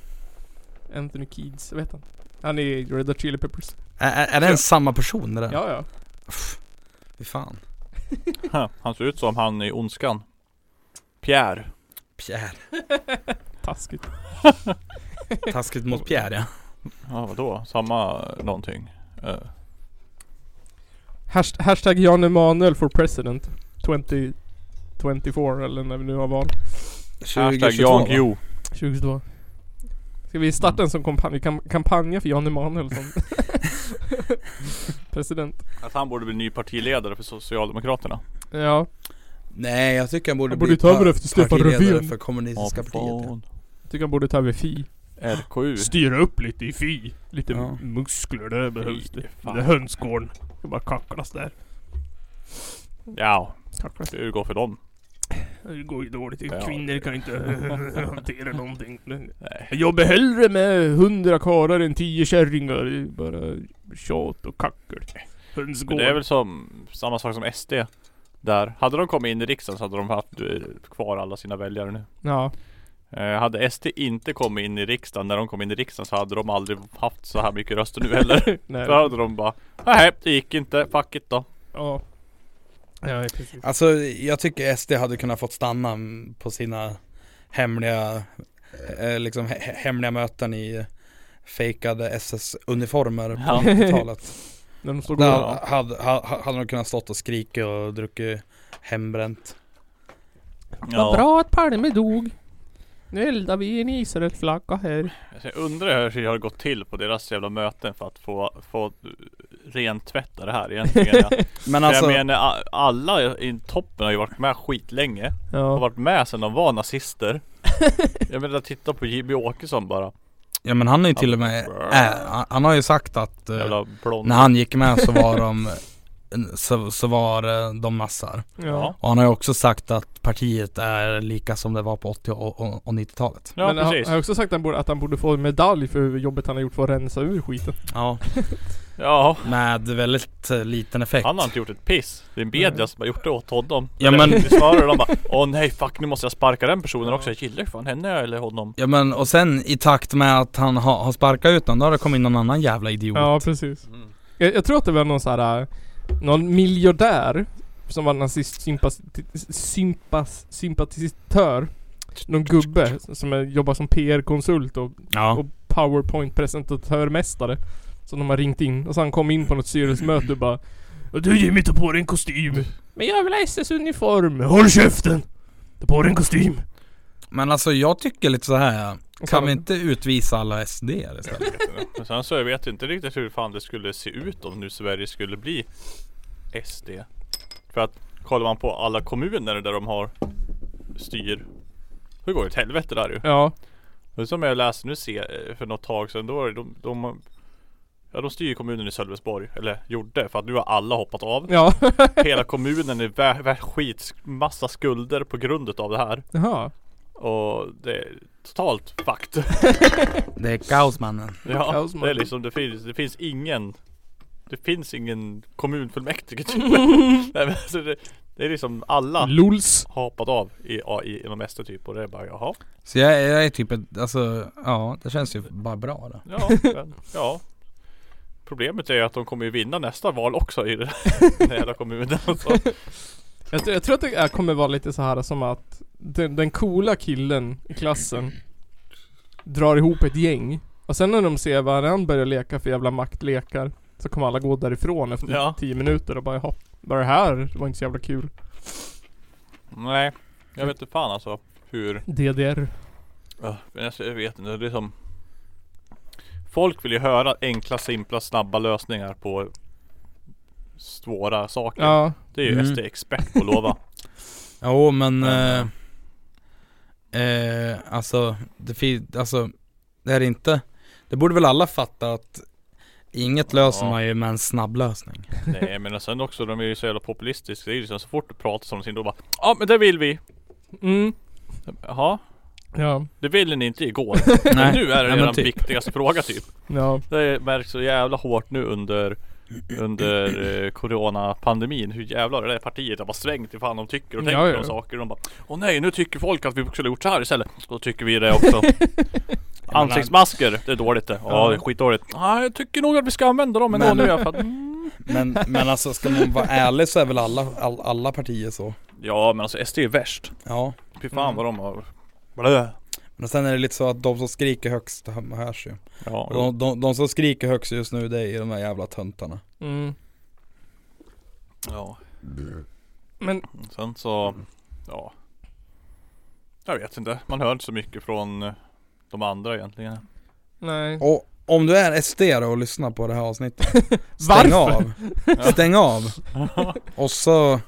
[SPEAKER 3] Anthony Kiedis, vet han? Han är i Red Hot Chili Peppers.
[SPEAKER 1] Är, är, är det ens samma person det där?
[SPEAKER 3] Ja, ja.
[SPEAKER 1] Pff, Fy fan.
[SPEAKER 4] Ha, Han ser ut som han i Ondskan. Pierre.
[SPEAKER 1] Pierre.
[SPEAKER 3] Taskigt.
[SPEAKER 1] Taskigt mot Pierre ja.
[SPEAKER 4] Ja vadå? Samma eh, någonting. Eh,
[SPEAKER 3] Hasht- hashtag Jan Emanuel for president. 2024 eller när vi nu har val.
[SPEAKER 4] hashtag
[SPEAKER 1] 2022,
[SPEAKER 4] Jan
[SPEAKER 1] va?
[SPEAKER 4] Guillou.
[SPEAKER 3] 2022. Ska vi starta en sån kampanj? Kam kampanja för Jan Emanuel som president?
[SPEAKER 4] Att han borde bli ny partiledare för Socialdemokraterna.
[SPEAKER 3] Ja.
[SPEAKER 1] Nej jag tycker han borde,
[SPEAKER 3] Han borde
[SPEAKER 1] bli
[SPEAKER 3] ta över
[SPEAKER 1] par-
[SPEAKER 3] efter Stefan
[SPEAKER 1] partiledare
[SPEAKER 3] Löfven.
[SPEAKER 1] för kommunistiska partiet ja.
[SPEAKER 4] Fan.
[SPEAKER 3] Jag tycker han borde ta över Fi.
[SPEAKER 4] RKU.
[SPEAKER 3] Styra upp lite i Fi. Lite
[SPEAKER 1] Ja.
[SPEAKER 3] muskler, det behövs det.
[SPEAKER 4] fan.
[SPEAKER 3] Det är hönsgården. Ska bara kacklas där.
[SPEAKER 4] Ja,
[SPEAKER 3] Kacklas.
[SPEAKER 4] hur går för dem?
[SPEAKER 3] Det går ju dåligt.
[SPEAKER 4] Ja.
[SPEAKER 3] Kvinnor kan inte hantera någonting.
[SPEAKER 4] Nej.
[SPEAKER 3] Jag jobbar hellre med hundra karlar än tio kärringar. Det är bara tjat och kackel.
[SPEAKER 4] Men
[SPEAKER 3] Hönsgård.
[SPEAKER 4] det är väl som samma sak som SD där. Hade de kommit in i riksdagen så hade de haft eh, kvar alla sina väljare nu.
[SPEAKER 3] Ja.
[SPEAKER 4] Eh, hade SD inte kommit in i riksdagen när de kom in i riksdagen så hade de aldrig haft så här mycket röster nu heller.
[SPEAKER 3] Nej.
[SPEAKER 4] Då hade de bara Nej det gick inte, fuck it då.
[SPEAKER 3] Ja. Ja, precis.
[SPEAKER 1] Alltså jag tycker SD hade kunnat fått stanna mm, på sina hemliga, eh, liksom he- he- hemliga möten i fejkade SS-uniformer på
[SPEAKER 4] Ja.
[SPEAKER 1] 90-talet.
[SPEAKER 3] När de står och
[SPEAKER 1] Där
[SPEAKER 3] går.
[SPEAKER 1] hade, hade, ha- hade de kunnat stått och skrika och druckit hembränt.
[SPEAKER 3] Vad bra att Palme dog. Nu eldar vi en Israelflagga här.
[SPEAKER 4] Alltså, Jag undrar hur det har gått till på deras jävla möten för att få, få eh, rentvätta det här egentligen. Ja.
[SPEAKER 1] Men
[SPEAKER 4] För
[SPEAKER 1] alltså,
[SPEAKER 4] Jag menar a- alla i toppen har ju varit med skitlänge. Har
[SPEAKER 3] Ja.
[SPEAKER 4] varit med sedan de var nazister. Jag menar titta på JB Åkesson bara.
[SPEAKER 1] ja, men han är ju till och med, äh, han- han har ju sagt att eh,
[SPEAKER 4] Jävla blond.
[SPEAKER 1] när han gick med så var de, så, så var eh, de nassar.
[SPEAKER 3] Ja.
[SPEAKER 1] Och han har ju också sagt att partiet är lika som det var på 80 och, och, och 90-talet.
[SPEAKER 4] Ja
[SPEAKER 3] Men han han
[SPEAKER 4] precis.
[SPEAKER 3] har också sagt att han, borde, att han borde få en medalj för hur jobbet han har gjort för att rensa ur skiten.
[SPEAKER 1] Ja.
[SPEAKER 4] Ja.
[SPEAKER 1] Med väldigt eh, liten effekt.
[SPEAKER 4] Han har inte gjort ett piss. Det är media som har gjort det åt honom.
[SPEAKER 1] Ja,
[SPEAKER 4] Eller,
[SPEAKER 1] men-
[SPEAKER 4] det är Snarare de bara Åh nej fuck nu måste jag sparka den personen också. Jag gillar ju fan henne eller honom.
[SPEAKER 1] Ja men och sen i takt med att han ha, har sparkat ut honom, då har det kommit in någon annan jävla idiot.
[SPEAKER 3] Ja, precis.
[SPEAKER 1] Mm.
[SPEAKER 3] Jag, jag tror att det var någon så här. äh, Någon miljardär som var nazist sympas, sympas, sympatisör. Någon gubbe som är, jobbar som PR-konsult och,
[SPEAKER 1] Ja.
[SPEAKER 3] och PowerPoint-presentatörmästare. Som de har ringt in. Och så han kom in på något styrelsemöte och bara Du Jimmy, ta på dig en kostym. Men jag vill ha SS-uniform. Håll käften! Ta på dig en kostym.
[SPEAKER 1] Men alltså jag tycker lite så här.
[SPEAKER 3] Och så-
[SPEAKER 1] kan vi inte utvisa alla SD istället?
[SPEAKER 4] Men sen så jag vet inte riktigt hur fan det skulle se ut om nu Sverige skulle bli SD. För att kollar man på alla kommuner där de har styr. Det går ju åt helvete där ju.
[SPEAKER 3] Ja.
[SPEAKER 4] Men som jag läste nu se, eh, för något tag sedan, då var det de, de Ja de styr ju kommunen i Sölvesborg, eller gjorde, för att nu har alla hoppat av
[SPEAKER 3] Ja.
[SPEAKER 4] Hela kommunen är värd vär skit, massa skulder på grund av det här
[SPEAKER 3] Jaha.
[SPEAKER 4] Och det är totalt fucked
[SPEAKER 1] Det är kaosmannen.
[SPEAKER 4] Ja,
[SPEAKER 3] Kaos, man.
[SPEAKER 4] det är liksom, det finns, det finns ingen Det finns ingen kommunfullmäktige typ Nej, men alltså det, det är liksom alla
[SPEAKER 3] Lols.
[SPEAKER 4] har hoppat av i, ja, i, inom SD typ och det är bara jaha
[SPEAKER 1] Så jag, jag är typ ett, alltså ja det känns ju bara bra då.
[SPEAKER 4] Ja, men, ja. Problemet är ju att de kommer ju vinna nästa val också i den här jävla kommunen. Alltså.
[SPEAKER 3] Jag, tror- jag tror att det är- kommer vara lite så här som att den, den coola killen i klassen drar ihop ett gäng och sen när de ser vad han börjar leka för jävla maktlekar så kommer alla gå därifrån efter
[SPEAKER 4] Ja.
[SPEAKER 3] tio minuter och bara jaha, vad är det här? Det var inte så jävla kul.
[SPEAKER 4] Nej, jag vet inte fan alltså hur.
[SPEAKER 3] DDR.
[SPEAKER 4] Ja, men alltså, jag vet inte, det är som. Folk vill ju höra enkla, simpla, snabba lösningar på svåra saker.
[SPEAKER 3] Ja.
[SPEAKER 4] Det är ju
[SPEAKER 1] Mm.
[SPEAKER 4] SD expert på att lova.
[SPEAKER 1] Jo men
[SPEAKER 4] Ja.
[SPEAKER 1] eh, eh, alltså, det fin- alltså det är inte, det borde väl alla fatta att inget löser
[SPEAKER 4] Ja.
[SPEAKER 1] man ju med en snabb lösning.
[SPEAKER 4] Nej men sen också, de är ju så jävla populistiska. Det är ju liksom, så fort du pratar om någonting då bara Ja men det vill vi!
[SPEAKER 3] Mm.
[SPEAKER 4] Jaha,
[SPEAKER 3] Ja.
[SPEAKER 4] det ville ni inte igår. Men
[SPEAKER 1] Nej.
[SPEAKER 4] nu är det
[SPEAKER 1] Ja, men
[SPEAKER 4] redan
[SPEAKER 1] typ.
[SPEAKER 4] viktigaste fråga typ.
[SPEAKER 3] Ja.
[SPEAKER 4] Det märks så jävla hårt nu under under eh, coronapandemin hur jävlar det där partiet har bara svängt i fan de tycker och tänker
[SPEAKER 3] Ja, ja.
[SPEAKER 4] om saker och de bara Åh nej nu tycker folk att vi skulle ha gjort så här istället Då tycker vi det också Ansiktsmasker, det är dåligt det Ja det är skitdåligt Nej jag tycker nog att vi ska använda dem ändå
[SPEAKER 1] Men-
[SPEAKER 4] nu i alla fall Mm.
[SPEAKER 1] Men, men alltså ska man vara ärlig så är väl alla, all, alla partier så.
[SPEAKER 4] Ja men alltså SD är värst
[SPEAKER 1] Ja.
[SPEAKER 4] Fy fan vad de har Blö.
[SPEAKER 1] Men sen är det lite så att de som skriker högst hö- hörs ju.
[SPEAKER 4] Ja,
[SPEAKER 1] Och de, de, de som skriker högst just nu det är ju de här jävla töntarna.
[SPEAKER 3] Mm.
[SPEAKER 4] ja.
[SPEAKER 3] Men
[SPEAKER 4] Sen så Ja Jag vet inte, man hör inte så mycket från eh, de andra egentligen
[SPEAKER 3] nej.
[SPEAKER 1] Och om du är SD då och lyssnar på det här avsnittet.
[SPEAKER 3] Varför?
[SPEAKER 1] Stäng av. Stäng av. Och så,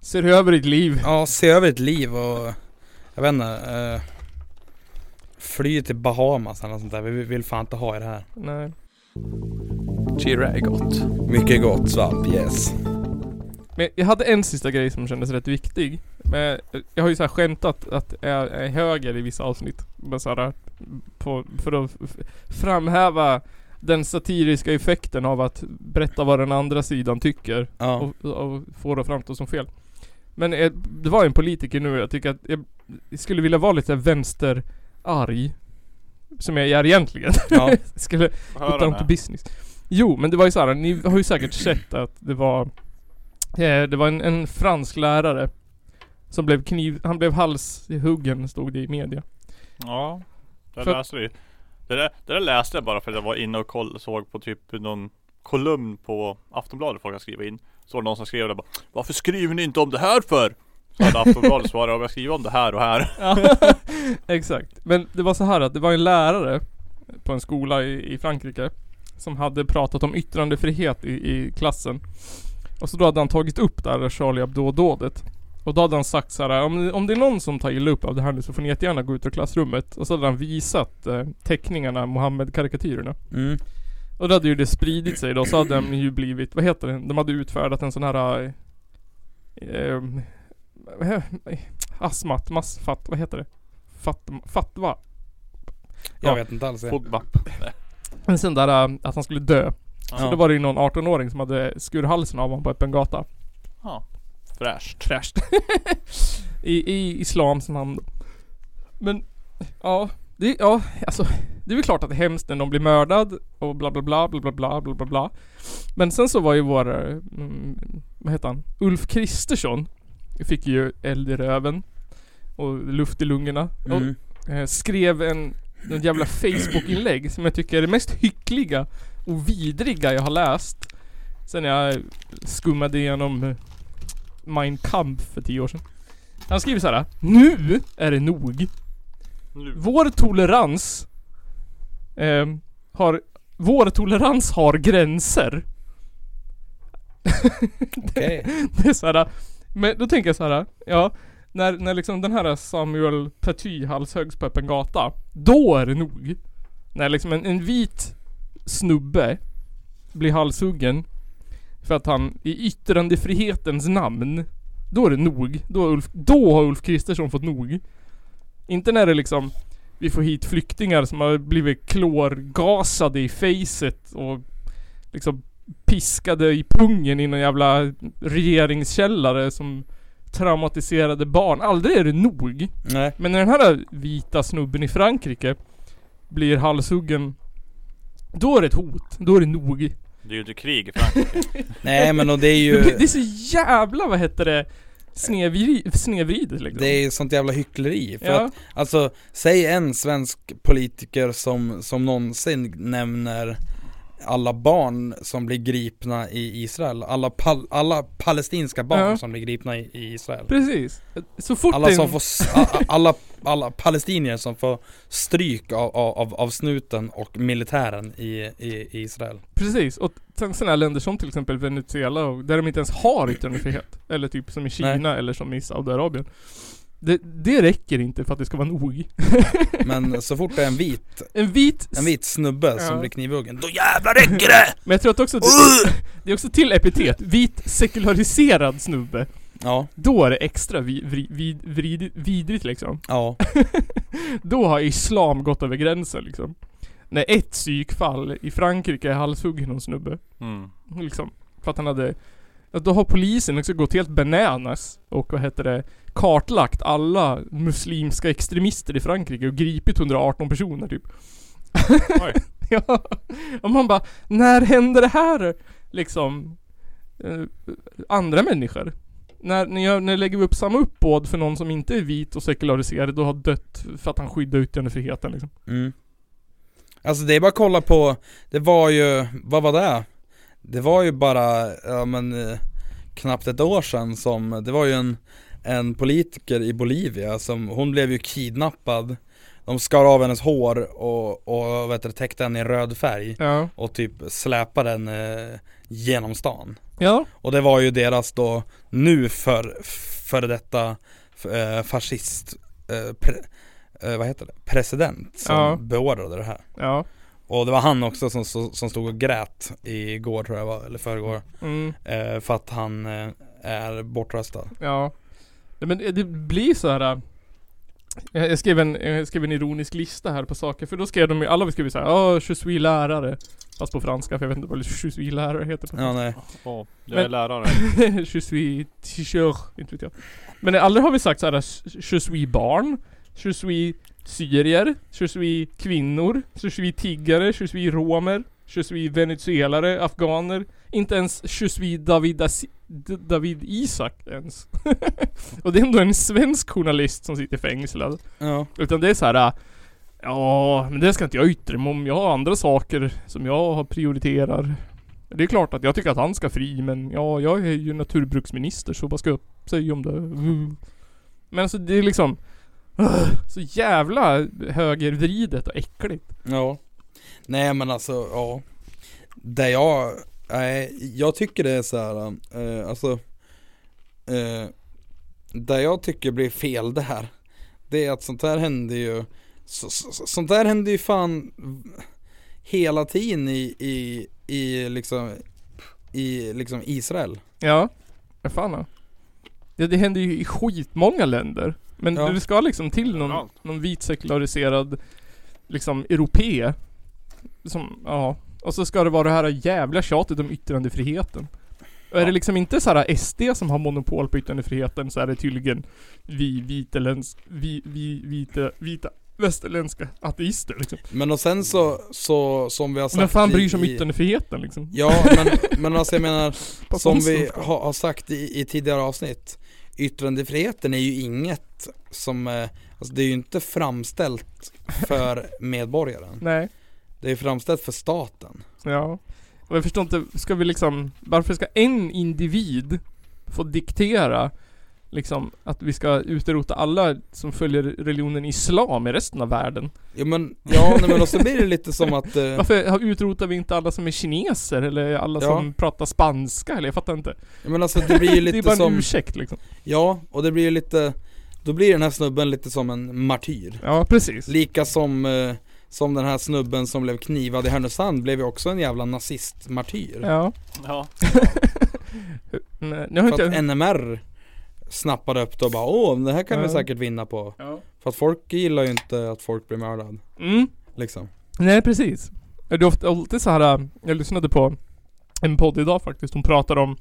[SPEAKER 3] Ser över ditt liv.
[SPEAKER 1] ja se över ditt liv och, jag vet inte. Eh, fly till Bahamas eller något sånt där. Vi vill fan inte ha er här.
[SPEAKER 3] Nej.
[SPEAKER 7] Cheera är gott.
[SPEAKER 1] Mycket gott svamp, yes.
[SPEAKER 3] Men jag hade en sista grej som kändes rätt viktig. Men jag har ju så här skämtat att jag är höger i vissa avsnitt. Men så här, på, för att f- framhäva den satiriska effekten av att berätta vad den andra sidan tycker
[SPEAKER 1] Ja.
[SPEAKER 3] och, och få det att framstå som fel. Men eh, det var en politiker nu jag tycker att jag skulle vilja vara lite vänsterarg. Som jag är egentligen.
[SPEAKER 1] ja.
[SPEAKER 3] skulle
[SPEAKER 4] Hör
[SPEAKER 3] down to
[SPEAKER 4] henne.
[SPEAKER 3] business. Jo, men det var ju såhär, ni har ju säkert sett att det var... Eh, det var en, en fransk lärare som blev kniv... Han blev halshuggen, stod det i media.
[SPEAKER 4] Ja. Det
[SPEAKER 3] För-
[SPEAKER 4] läste vi. Det där, det där läste jag bara för att jag var inne och koll, såg på typ någon kolumn på Aftonbladet folk kan skriva in. Så var det någon som skrev det bara Varför skriver ni inte om det här för? Så hade Aftonbladet svarat om jag skriver om det här och här.
[SPEAKER 3] Exakt. Men det var så här att det var en lärare på en skola i, i Frankrike som hade pratat om yttrandefrihet i, i klassen. Och så då hade han tagit upp det här Charlie Hebdo-dådet. Och då hade han sagt så här, om, om det är någon som tar illa upp av det här nu så får ni jättegärna gå ut ur klassrummet. Och så hade han visat eh, teckningarna, Mohammed-karikatyrerna.
[SPEAKER 1] Mm.
[SPEAKER 3] Och då hade ju det spridit sig då, så hade de ju blivit, vad heter det? De hade utfärdat en sån här... Eh, eh, asmat, massfatt, vad heter det? Fatt, fatwa.
[SPEAKER 1] Jag
[SPEAKER 3] Ja.
[SPEAKER 1] vet inte alls det.
[SPEAKER 4] Fotbapp.
[SPEAKER 3] En sån där eh, att han skulle dö. Så
[SPEAKER 1] Ja.
[SPEAKER 3] då var det ju någon 18-åring som hade skurit halsen av honom på öppen gata.
[SPEAKER 4] Fräscht.
[SPEAKER 3] Fräscht. I, I islams namn. Men, ja. Det, ja, alltså, det är väl klart att det är hemskt när någon blir mördad och bla bla bla bla bla bla bla bla bla. Men sen så var ju vår, eh, mm, vad heter han? Ulf Kristersson. Fick ju eld i röven. Och luft i lungorna.
[SPEAKER 1] Mm.
[SPEAKER 3] Och, eh, skrev en, en jävla Facebook-inlägg som jag tycker är det mest hyckliga och vidriga jag har läst. Sen jag skummade igenom eh, Mein Kampf för tio år sedan. Han skriver så här. Nu är det nog.
[SPEAKER 4] Nu.
[SPEAKER 3] Vår tolerans ehm, har... Vår tolerans har gränser.
[SPEAKER 1] Okej.
[SPEAKER 3] Det är så här. Men då tänker jag så här. Ja. När, när liksom den här Samuel Paty halshöggs på öppen gata. Då är det nog. När liksom en, en vit snubbe blir halshuggen. För att han i yttrandefrihetens namn. Då är det nog. Då, är Ulf, då har Ulf Kristersson fått nog. Inte när det liksom vi får hit flyktingar som har blivit klorgasade i facet och liksom piskade i pungen i någon jävla regeringskällare som traumatiserade barn. Aldrig är det nog.
[SPEAKER 1] Nej.
[SPEAKER 3] Men när den här vita snubben i Frankrike blir halshuggen då är det ett hot. Då är det nog.
[SPEAKER 4] Det är ju inte krig i Frankrike.
[SPEAKER 1] Nej men och det är ju
[SPEAKER 3] Det är så jävla, vad heter det, snedvri- snedvridet liksom.
[SPEAKER 1] Det är ju sånt jävla hyckleri. För
[SPEAKER 3] ja.
[SPEAKER 1] att, alltså, säg en svensk politiker som, som någonsin nämner alla barn som blir gripna i Israel. Alla, pal- alla palestinska barn
[SPEAKER 3] Ja.
[SPEAKER 1] som blir gripna i, i Israel.
[SPEAKER 3] Precis. Så fort
[SPEAKER 1] Alla
[SPEAKER 3] det är
[SPEAKER 1] som
[SPEAKER 3] en-
[SPEAKER 1] får, s- a- a- alla, alla palestinier som får stryk av, av, av- av snuten och militären i, i, i Israel.
[SPEAKER 3] Precis, och sen sådana här länder som till exempel Venezuela, och- där de inte ens har yttrandefrihet. Eller typ som i Kina eller som i Saudiarabien. Det, det räcker inte för att det ska vara nog.
[SPEAKER 1] Men så fort det är en vit,
[SPEAKER 3] En vit...
[SPEAKER 1] en vit snubbe
[SPEAKER 3] Ja.
[SPEAKER 1] som blir knivhuggen, då jävlar räcker det!
[SPEAKER 3] Men jag tror att också att det, det är också till epitet. Vit sekulariserad snubbe.
[SPEAKER 1] Ja,
[SPEAKER 3] Då är det extra vi, vri, vid, vrid, vidrigt liksom.
[SPEAKER 1] ja,
[SPEAKER 3] Då har islam gått över gränsen liksom. När ett psykfall i Frankrike halshugger någon snubbe.
[SPEAKER 4] Mm.
[SPEAKER 3] Liksom. För att han hade... Att då har polisen också gått helt bananas och vad heter det? Kartlagt alla muslimska extremister i Frankrike och gripit 118 personer typ.
[SPEAKER 4] Oj.
[SPEAKER 3] ja. Och man bara, när hände det här? Liksom. Eh, andra människor. När, när, jag, när lägger vi upp samma uppbåd för någon som inte är vit och sekulariserad och har dött för att han skyddar yttrandefriheten liksom.
[SPEAKER 1] Mm. Alltså det är bara att kolla på, det var ju, vad var det? Det var ju bara, ja men eh, knappt ett år sedan som, det var ju en, en politiker i Bolivia som, hon blev ju kidnappad De skar av hennes hår och, och vad heter det, täckte henne i röd färg
[SPEAKER 3] Ja.
[SPEAKER 1] och typ släpade den eh, genom stan
[SPEAKER 3] Ja.
[SPEAKER 1] Och det var ju deras då, nu för, före detta f- eh, fascist, eh, pre, eh, vad heter det, president som
[SPEAKER 3] Ja.
[SPEAKER 1] beordrade det här
[SPEAKER 3] Ja.
[SPEAKER 1] och det var han också som, som, som stod och grät igår tror jag var, eller förrgår.
[SPEAKER 3] Mm.
[SPEAKER 1] Eh, för att han eh, är bortröstad.
[SPEAKER 3] Ja. Nej, Men det- det blir så här. äh, Jag jag skrev, en, jag skrev en ironisk lista här på saker, för då skrev de ju, alla skrev ju såhär 'Åh, je suis lärare' Fast på franska för jag vet inte vad je suis lärare heter på
[SPEAKER 1] Ja, nej.
[SPEAKER 4] Åh, jag är
[SPEAKER 3] Men-
[SPEAKER 4] lärare.
[SPEAKER 3] je suis t-shirt, inte vet jag. Men aldrig har vi sagt såhär je suis barn, je suis syrier, je suis kvinnor, je suis tiggare, je suis romer, je suis venezuelare, afghaner. Inte ens je suis David, Asi- D- David Isak ens. Och det är ändå en svensk journalist som sitter fängslad.
[SPEAKER 1] Ja.
[SPEAKER 3] Utan det är så här. äh, Ja, men det ska inte jag yttra mig om. Jag har andra saker som jag har prioriterar. Det är klart att jag tycker att han ska fri, men ja, jag är ju naturbruksminister så vad ska jag säga om det? Mm. Men alltså det är liksom... äh, Så jävla högervridet och äckligt.
[SPEAKER 1] Ja. Nej men alltså, ja. Det jag, nej, jag tycker det är så här, eh, alltså. Eh, det jag tycker blir fel där. Det är att sånt här händer ju, så, så, så- sånt där händer ju fan hela tiden i, i, i liksom, i liksom Israel.
[SPEAKER 3] Ja. Ja, fan ja. ja. Det händer ju i skitmånga länder. Men
[SPEAKER 1] Ja.
[SPEAKER 3] det ska liksom till någon,
[SPEAKER 4] Överallt.
[SPEAKER 3] någon vit sekulariserad liksom europé. Som, ja. Och så ska det vara det här jävla tjatet om yttrandefriheten. Och är
[SPEAKER 4] Ja.
[SPEAKER 3] det liksom inte så här SD som har monopol på yttrandefriheten så är det tydligen vi viteländsk, vi, vi vita, vita västerländska ateister liksom.
[SPEAKER 1] Men och sen så, så som vi har sagt
[SPEAKER 3] Men fan
[SPEAKER 1] i-
[SPEAKER 3] bryr sig om
[SPEAKER 1] i-
[SPEAKER 3] yttrandefriheten liksom?
[SPEAKER 1] Ja men, men alltså jag menar
[SPEAKER 3] Vad
[SPEAKER 1] Som
[SPEAKER 3] fan
[SPEAKER 1] vi har, har sagt i, i tidigare avsnitt Yttrandefriheten är ju inget som, eh, alltså det är ju inte framställt för medborgaren
[SPEAKER 3] Nej.
[SPEAKER 1] Det är framställt för staten
[SPEAKER 3] Ja. Och jag förstår inte, ska vi liksom, varför ska en individ få diktera liksom att vi ska utrota alla som följer religionen islam i resten av världen?
[SPEAKER 1] Ja men, ja nej, men och så blir det lite som att eh,
[SPEAKER 3] Varför har- utrotar vi inte alla som är kineser eller alla
[SPEAKER 1] Ja.
[SPEAKER 3] som pratar spanska eller jag fattar inte.
[SPEAKER 1] ja, men alltså det blir ju
[SPEAKER 3] Det är
[SPEAKER 1] lite
[SPEAKER 3] bara en
[SPEAKER 1] som,
[SPEAKER 3] ursäkt liksom.
[SPEAKER 1] ja och det blir ju lite Då blir den här snubben lite som en martyr
[SPEAKER 3] Ja, precis.
[SPEAKER 1] Lika som, eh, som den här snubben som blev knivad i Härnösand blev ju också en jävla nazistmartyr
[SPEAKER 3] Ja.
[SPEAKER 4] Ja.
[SPEAKER 3] Men, nu har
[SPEAKER 1] För
[SPEAKER 3] inte
[SPEAKER 1] att
[SPEAKER 3] jag...
[SPEAKER 1] NMR snappade upp det och bara åh, det här kan vi
[SPEAKER 3] Ja.
[SPEAKER 1] säkert vinna på.
[SPEAKER 3] Ja.
[SPEAKER 1] För att folk gillar ju inte att folk blir mördade.
[SPEAKER 3] Mm.
[SPEAKER 1] Liksom.
[SPEAKER 3] Nej precis. Det är ofta, alltid så här. äh, jag lyssnade på en podd idag faktiskt, hon pratar om,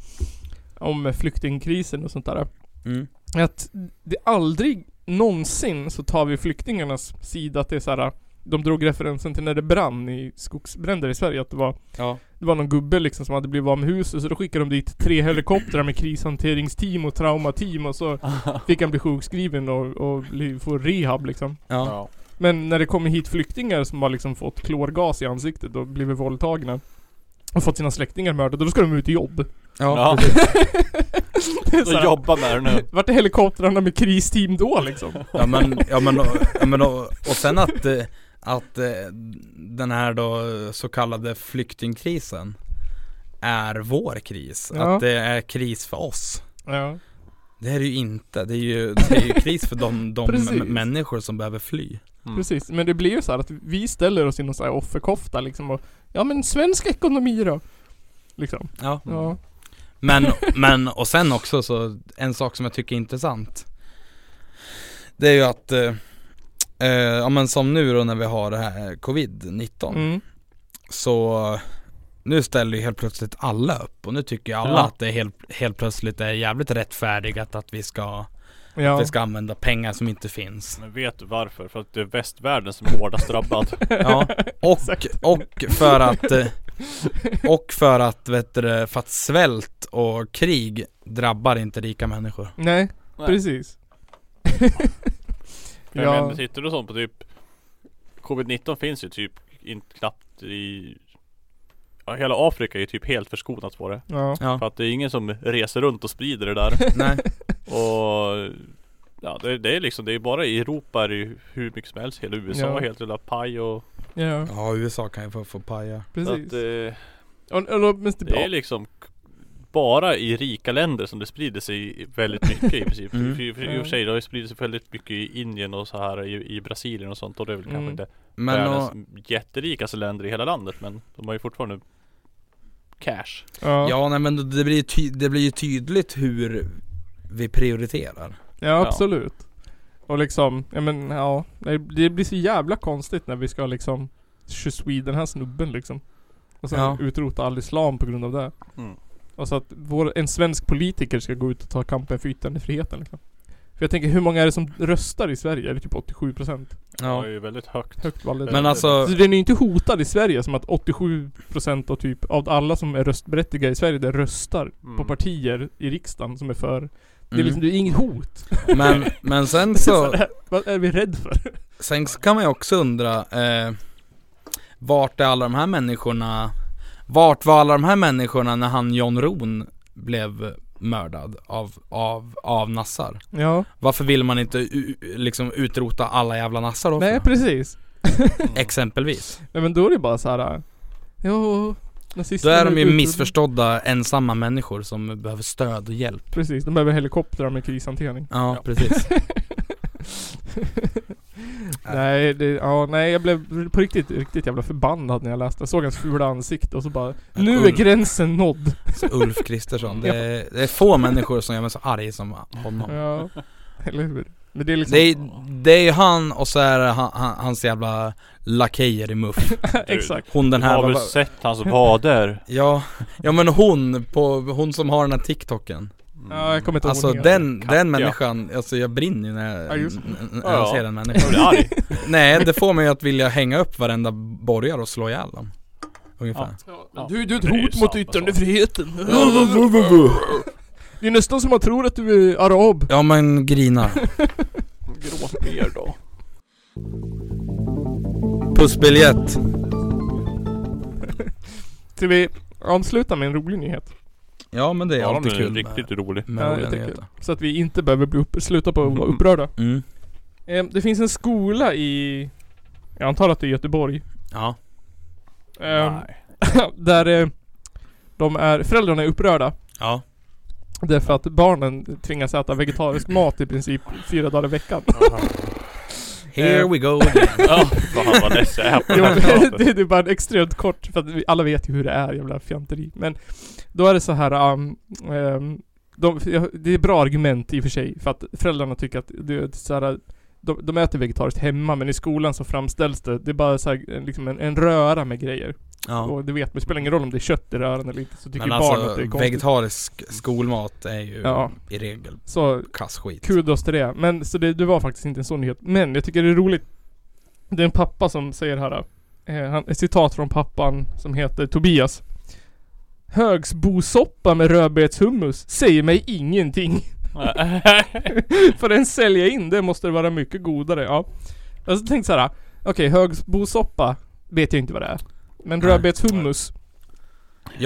[SPEAKER 3] om flyktingkrisen och sånt där.
[SPEAKER 1] Mm.
[SPEAKER 3] att det aldrig någonsin så tar vi flyktingarnas sida att det är så här. De drog referensen till när det brann i skogsbränder i Sverige att det var
[SPEAKER 1] Ja.
[SPEAKER 3] Det var någon gubbe liksom som hade blivit av med huset så då skickade de dit tre helikoptrar med krishanteringsteam och traumateam och så fick han bli sjukskriven och, och bli, få rehab liksom
[SPEAKER 1] Ja.
[SPEAKER 4] ja.
[SPEAKER 3] Men när det kommer hit flyktingar som har liksom fått klorgas i ansiktet och blivit våldtagna och fått sina släktingar mördade, då ska de ut i jobb.
[SPEAKER 1] Ja.
[SPEAKER 4] ja.
[SPEAKER 3] Det är så
[SPEAKER 4] Så
[SPEAKER 3] här,
[SPEAKER 4] jobba med det nu.
[SPEAKER 3] Vart är helikoptrarna med kristeam då liksom?
[SPEAKER 1] ja men, ja men, och, ja, men och, och sen att, eh, att eh, den här då så kallade flyktingkrisen är vår kris.
[SPEAKER 3] Ja.
[SPEAKER 1] Att det är kris för oss.
[SPEAKER 3] Ja.
[SPEAKER 1] Det är det ju inte. Det är ju, det är ju kris för de, de
[SPEAKER 3] Precis.
[SPEAKER 1] m- människor som behöver fly.
[SPEAKER 4] Mm.
[SPEAKER 3] Precis, men det blir ju så här att vi ställer oss i någon så här offerkofta liksom och Ja men svensk ekonomi då? Liksom.
[SPEAKER 1] Ja.
[SPEAKER 4] Mm.
[SPEAKER 3] Ja.
[SPEAKER 1] Men, men och sen också så, en sak som jag tycker är intressant Det är ju att, eh, eh, ja men som nu då när vi har det här covid-19
[SPEAKER 3] Mm.
[SPEAKER 1] Så nu ställer ju helt plötsligt alla upp och nu tycker ju alla
[SPEAKER 4] Ja.
[SPEAKER 1] att det är helt, helt plötsligt är jävligt rättfärdigt att vi ska,
[SPEAKER 3] Ja.
[SPEAKER 1] vi ska använda pengar som inte finns
[SPEAKER 4] Men vet du varför? För att det är västvärlden som är hårdast drabbad.
[SPEAKER 1] Ja, och, och för att eh, Och för att, vet du, det, för att svält och krig drabbar inte rika människor
[SPEAKER 3] Nej,
[SPEAKER 4] Nej.
[SPEAKER 3] precis.
[SPEAKER 4] För Jag
[SPEAKER 3] ja.
[SPEAKER 4] menar, tittar du sånt på typ Covid-19 finns ju typ inte knappt i Ja, hela Afrika är ju typ helt förskonat på det.
[SPEAKER 3] Ja.
[SPEAKER 1] Ja,
[SPEAKER 4] För att det är ingen som reser runt och sprider det där.
[SPEAKER 1] nej
[SPEAKER 4] Och Ja det, det är liksom, det är bara i Europa är det ju hur mycket som helst. Hela USA
[SPEAKER 3] Ja.
[SPEAKER 4] ja. helt jävla paj och
[SPEAKER 3] Ja,
[SPEAKER 1] Ja USA kan ju få, få paja
[SPEAKER 4] så
[SPEAKER 3] precis.
[SPEAKER 4] att, eh,
[SPEAKER 3] Och, och då, men det
[SPEAKER 4] Det är liksom bara i rika länder som det sprider sig väldigt mycket i princip.
[SPEAKER 1] Mm.
[SPEAKER 4] För, för, I och för sig det har ju spridit sig väldigt mycket i Indien och så här i, i Brasilien och sånt och det är väl
[SPEAKER 3] Mm.
[SPEAKER 4] kanske inte
[SPEAKER 1] Men och,
[SPEAKER 4] världens jätterikaste länder i hela landet men de har ju fortfarande cash.
[SPEAKER 3] ja. Ja.
[SPEAKER 1] ja nej men det blir, ju ty, det blir ju tydligt hur vi prioriterar
[SPEAKER 3] ja, absolut. Och liksom, ja men ja. Det, det blir så jävla konstigt när vi ska liksom 20 den här snubben liksom. Och sen
[SPEAKER 1] Ja.
[SPEAKER 3] utrota all islam på grund av det.
[SPEAKER 4] Mm.
[SPEAKER 3] Alltså att vår, en svensk politiker ska gå ut och ta kampen för yttrandefriheten liksom. För jag tänker, hur många är det som röstar i Sverige? Är det typ 87%?
[SPEAKER 4] Ja.
[SPEAKER 1] Ja.
[SPEAKER 4] Det är ju väldigt högt.
[SPEAKER 3] Högt valdeltagande.
[SPEAKER 1] Men alltså,
[SPEAKER 3] Så den är ju inte hotad i Sverige som att 87% av typ, av alla som är röstberättigade i Sverige, där röstar
[SPEAKER 4] Mm.
[SPEAKER 3] på partier i riksdagen som är för. Det är
[SPEAKER 1] Mm.
[SPEAKER 3] liksom, det är inget hot.
[SPEAKER 1] men, men sen
[SPEAKER 3] Så.
[SPEAKER 1] så,
[SPEAKER 3] här, Vad är vi rädda för?
[SPEAKER 1] sen så kan man ju också undra eh, Vart är alla de här människorna Vart var alla de här människorna när han John Ron blev mördad av, av, av nassar?
[SPEAKER 3] Ja,
[SPEAKER 1] Varför vill man inte u- u- liksom utrota alla jävla nassar då? för?
[SPEAKER 3] nej precis.
[SPEAKER 4] Mm.
[SPEAKER 1] Exempelvis.
[SPEAKER 3] Nej men då är det bara så här. Jo,
[SPEAKER 1] Då
[SPEAKER 3] nazisterna
[SPEAKER 1] är de ju
[SPEAKER 3] ut-
[SPEAKER 1] missförstådda ensamma människor som behöver stöd och hjälp.
[SPEAKER 3] Precis, de behöver helikoptrar med krishantering.
[SPEAKER 1] Ja, precis.
[SPEAKER 3] Nej, det, ja, nej jag blev på riktigt, riktigt jävla förbannad när jag läste. Jag såg hans fula ansikte och så bara Nu är
[SPEAKER 1] Ulf.
[SPEAKER 3] gränsen nådd.
[SPEAKER 1] Så Ulf Kristersson. Det är, det är få människor som gör mig så arg som honom.
[SPEAKER 3] Ja, eller hur? Men det är liksom
[SPEAKER 1] Det är, det är ju han och så är det han, han, hans jävla lakejer i muff.
[SPEAKER 3] Exakt.
[SPEAKER 1] Hon den här...
[SPEAKER 4] Har
[SPEAKER 1] vad
[SPEAKER 4] du
[SPEAKER 1] var-
[SPEAKER 4] sett hans vader?
[SPEAKER 1] Ja, ja men hon på, hon som har den här TikToken.
[SPEAKER 4] Mm.
[SPEAKER 3] Ja, jag kommer inte ihåg
[SPEAKER 1] Alltså
[SPEAKER 3] vad hon heter.
[SPEAKER 1] den, den människan, alltså jag brinner ju när
[SPEAKER 3] Ja,
[SPEAKER 1] jag,
[SPEAKER 3] just
[SPEAKER 1] n- n- när
[SPEAKER 4] Ja,
[SPEAKER 1] jag
[SPEAKER 4] ja.
[SPEAKER 1] ser den människan.
[SPEAKER 4] Jag blir arg.
[SPEAKER 1] Nej, det får mig att vilja hänga upp varenda borgare och slå ihjäl dem. Ungefär.
[SPEAKER 4] Ja.
[SPEAKER 3] Du, du är ett
[SPEAKER 4] Det är ju
[SPEAKER 3] hot
[SPEAKER 4] samma
[SPEAKER 3] mot
[SPEAKER 4] sak.
[SPEAKER 3] yttrandefriheten. Det är nästan som man tror att du är arab.
[SPEAKER 1] Ja men grinar.
[SPEAKER 4] Gråt mer då.
[SPEAKER 1] Pussbiljett.
[SPEAKER 3] Ska vi avsluta med en rolig nyhet?
[SPEAKER 1] Ja men det är
[SPEAKER 4] Ja,
[SPEAKER 1] alltid
[SPEAKER 4] den är
[SPEAKER 1] kul
[SPEAKER 4] riktigt rolig.
[SPEAKER 1] med, Mm. med
[SPEAKER 3] Ja,
[SPEAKER 1] roliga
[SPEAKER 3] jag tänker.
[SPEAKER 1] nyheter.
[SPEAKER 3] Så att vi inte behöver bli upp, sluta på att vara upprörda.
[SPEAKER 1] Mm.
[SPEAKER 3] Eh, Det finns en skola i... Jag antar att det är Göteborg.
[SPEAKER 1] Ja.
[SPEAKER 3] eh, Där eh, de är, föräldrarna är upprörda.
[SPEAKER 1] Ja.
[SPEAKER 3] Därför att barnen tvingas äta vegetarisk mat i princip fyra dagar i veckan.
[SPEAKER 1] Here
[SPEAKER 3] Eh.
[SPEAKER 1] we go again.
[SPEAKER 4] Ja, fan vad less jag är på
[SPEAKER 3] Jo,
[SPEAKER 4] den här
[SPEAKER 3] men
[SPEAKER 4] praten.
[SPEAKER 3] det, det är bara extremt kort, för att vi alla vet ju hur det är, jävla fjanteri. Men då är det så här, um, um, de, det är bra argument i och för sig, för att föräldrarna tycker att det är så här, de, de äter vegetariskt hemma, men i skolan så framställs det, det är bara så här, en- liksom en, en röra med grejer.
[SPEAKER 1] Ja.
[SPEAKER 3] Och det vet man, det spelar ingen roll om det är kött i röran eller inte, så tycker
[SPEAKER 1] Men
[SPEAKER 3] barn
[SPEAKER 1] alltså
[SPEAKER 3] att det är konstigt.
[SPEAKER 1] vegetarisk skolmat är ju
[SPEAKER 3] Ja.
[SPEAKER 1] i regel
[SPEAKER 3] så
[SPEAKER 1] kass skit.
[SPEAKER 3] kudos till det. Men så det, det var faktiskt inte en sån nyhet. Men jag tycker det är roligt. Det är en pappa som säger här. Eh, han, ett citat från pappan som heter Tobias. Högsbosoppa med rödbetshummus säger mig ingenting. För den säljer in, det måste vara mycket godare. Ja. Jag så tänkte såhär. Okej, högsbosoppa vet jag inte vad det är. Men
[SPEAKER 1] Nej.
[SPEAKER 3] rödbetshummus.
[SPEAKER 1] Ja,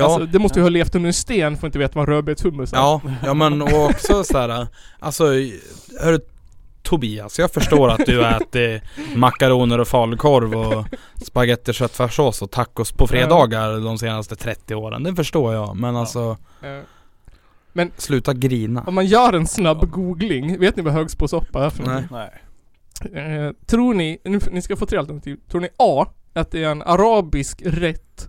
[SPEAKER 3] Alltså, det måste ju ha levt under en sten för att inte veta vad rödbetshummus är.
[SPEAKER 1] ja, ja men och också så här. alltså hörru Tobias, jag förstår att du äter makaroner och falukorv och spagetti och köttfärssås och tacos på fredagar de senaste 30 åren. Det förstår jag, men alltså
[SPEAKER 3] Eh,
[SPEAKER 1] sluta grina.
[SPEAKER 3] Om man gör en snabb googling, vet ni vad högsbåsoppa är för någonting?
[SPEAKER 4] Nej.
[SPEAKER 3] Eh, tror ni, nu, ni ska få tre alternativ. Tror ni A, att det är en arabisk rätt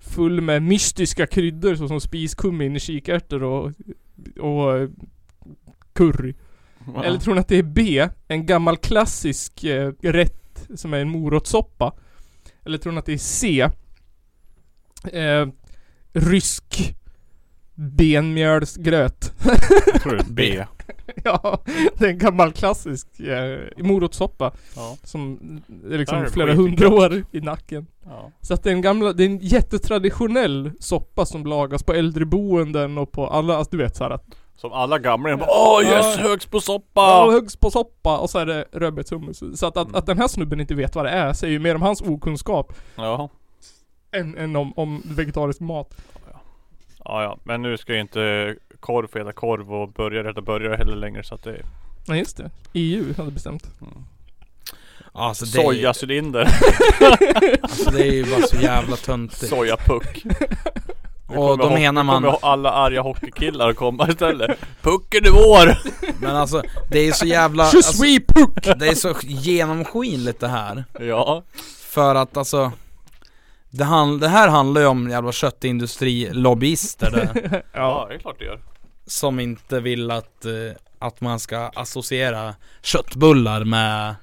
[SPEAKER 3] full med mystiska kryddor såsom spiskummin, kikärtor och, och eh, curry? Eller tror ni att det är B, en gammal klassisk eh, rätt som är en morotssoppa? Eller tror ni att det är C, eh, rysk benmjölsgröt?
[SPEAKER 4] tror du? B.
[SPEAKER 3] Ja, det är en gammal klassisk eh, morotssoppa.
[SPEAKER 4] Ja.
[SPEAKER 3] Som är liksom
[SPEAKER 4] Där är det
[SPEAKER 3] flera
[SPEAKER 4] skit i
[SPEAKER 3] hundra år i nacken.
[SPEAKER 4] Ja.
[SPEAKER 3] Så att det är en gamla, det är en jättetraditionell soppa som lagas på äldreboenden och på alla, alltså du vet såhär att
[SPEAKER 4] Som alla gamlingar bara Åh yes,
[SPEAKER 3] Ja.
[SPEAKER 4] högst på
[SPEAKER 3] ja.
[SPEAKER 4] soppa!
[SPEAKER 3] högst på soppa och så är det rödbetshummus. Så att,
[SPEAKER 4] Mm.
[SPEAKER 3] att, att den här snubben inte vet vad det är säger ju mer om hans okunskap
[SPEAKER 4] Ja.
[SPEAKER 3] än, än om, om vegetarisk mat.
[SPEAKER 4] Ja, ja. Men nu ska ju inte korv få heta korv och burgare heta burgare heller längre så att det är
[SPEAKER 3] Nej just det. EU hade bestämt.
[SPEAKER 1] Alltså det, är,
[SPEAKER 4] sojacylinder,
[SPEAKER 1] alltså det är ju bara så jävla töntigt.
[SPEAKER 4] sojapuck. Nu
[SPEAKER 1] Och då
[SPEAKER 4] kommer ho-
[SPEAKER 1] menar
[SPEAKER 4] nu
[SPEAKER 1] man-
[SPEAKER 4] kommer alla arga hockeykillar att komma istället. Pucken är vår!
[SPEAKER 1] Men alltså det är så jävla...
[SPEAKER 3] Je
[SPEAKER 1] Alltså,
[SPEAKER 3] suis puck!
[SPEAKER 1] det är så genomskinligt det här.
[SPEAKER 4] Ja.
[SPEAKER 1] För att alltså det, han, det här handlar ju om jävla köttindustrilobbyister där,
[SPEAKER 4] Ja, det är klart det gör.
[SPEAKER 1] Som inte vill att, eh, att man ska associera köttbullar med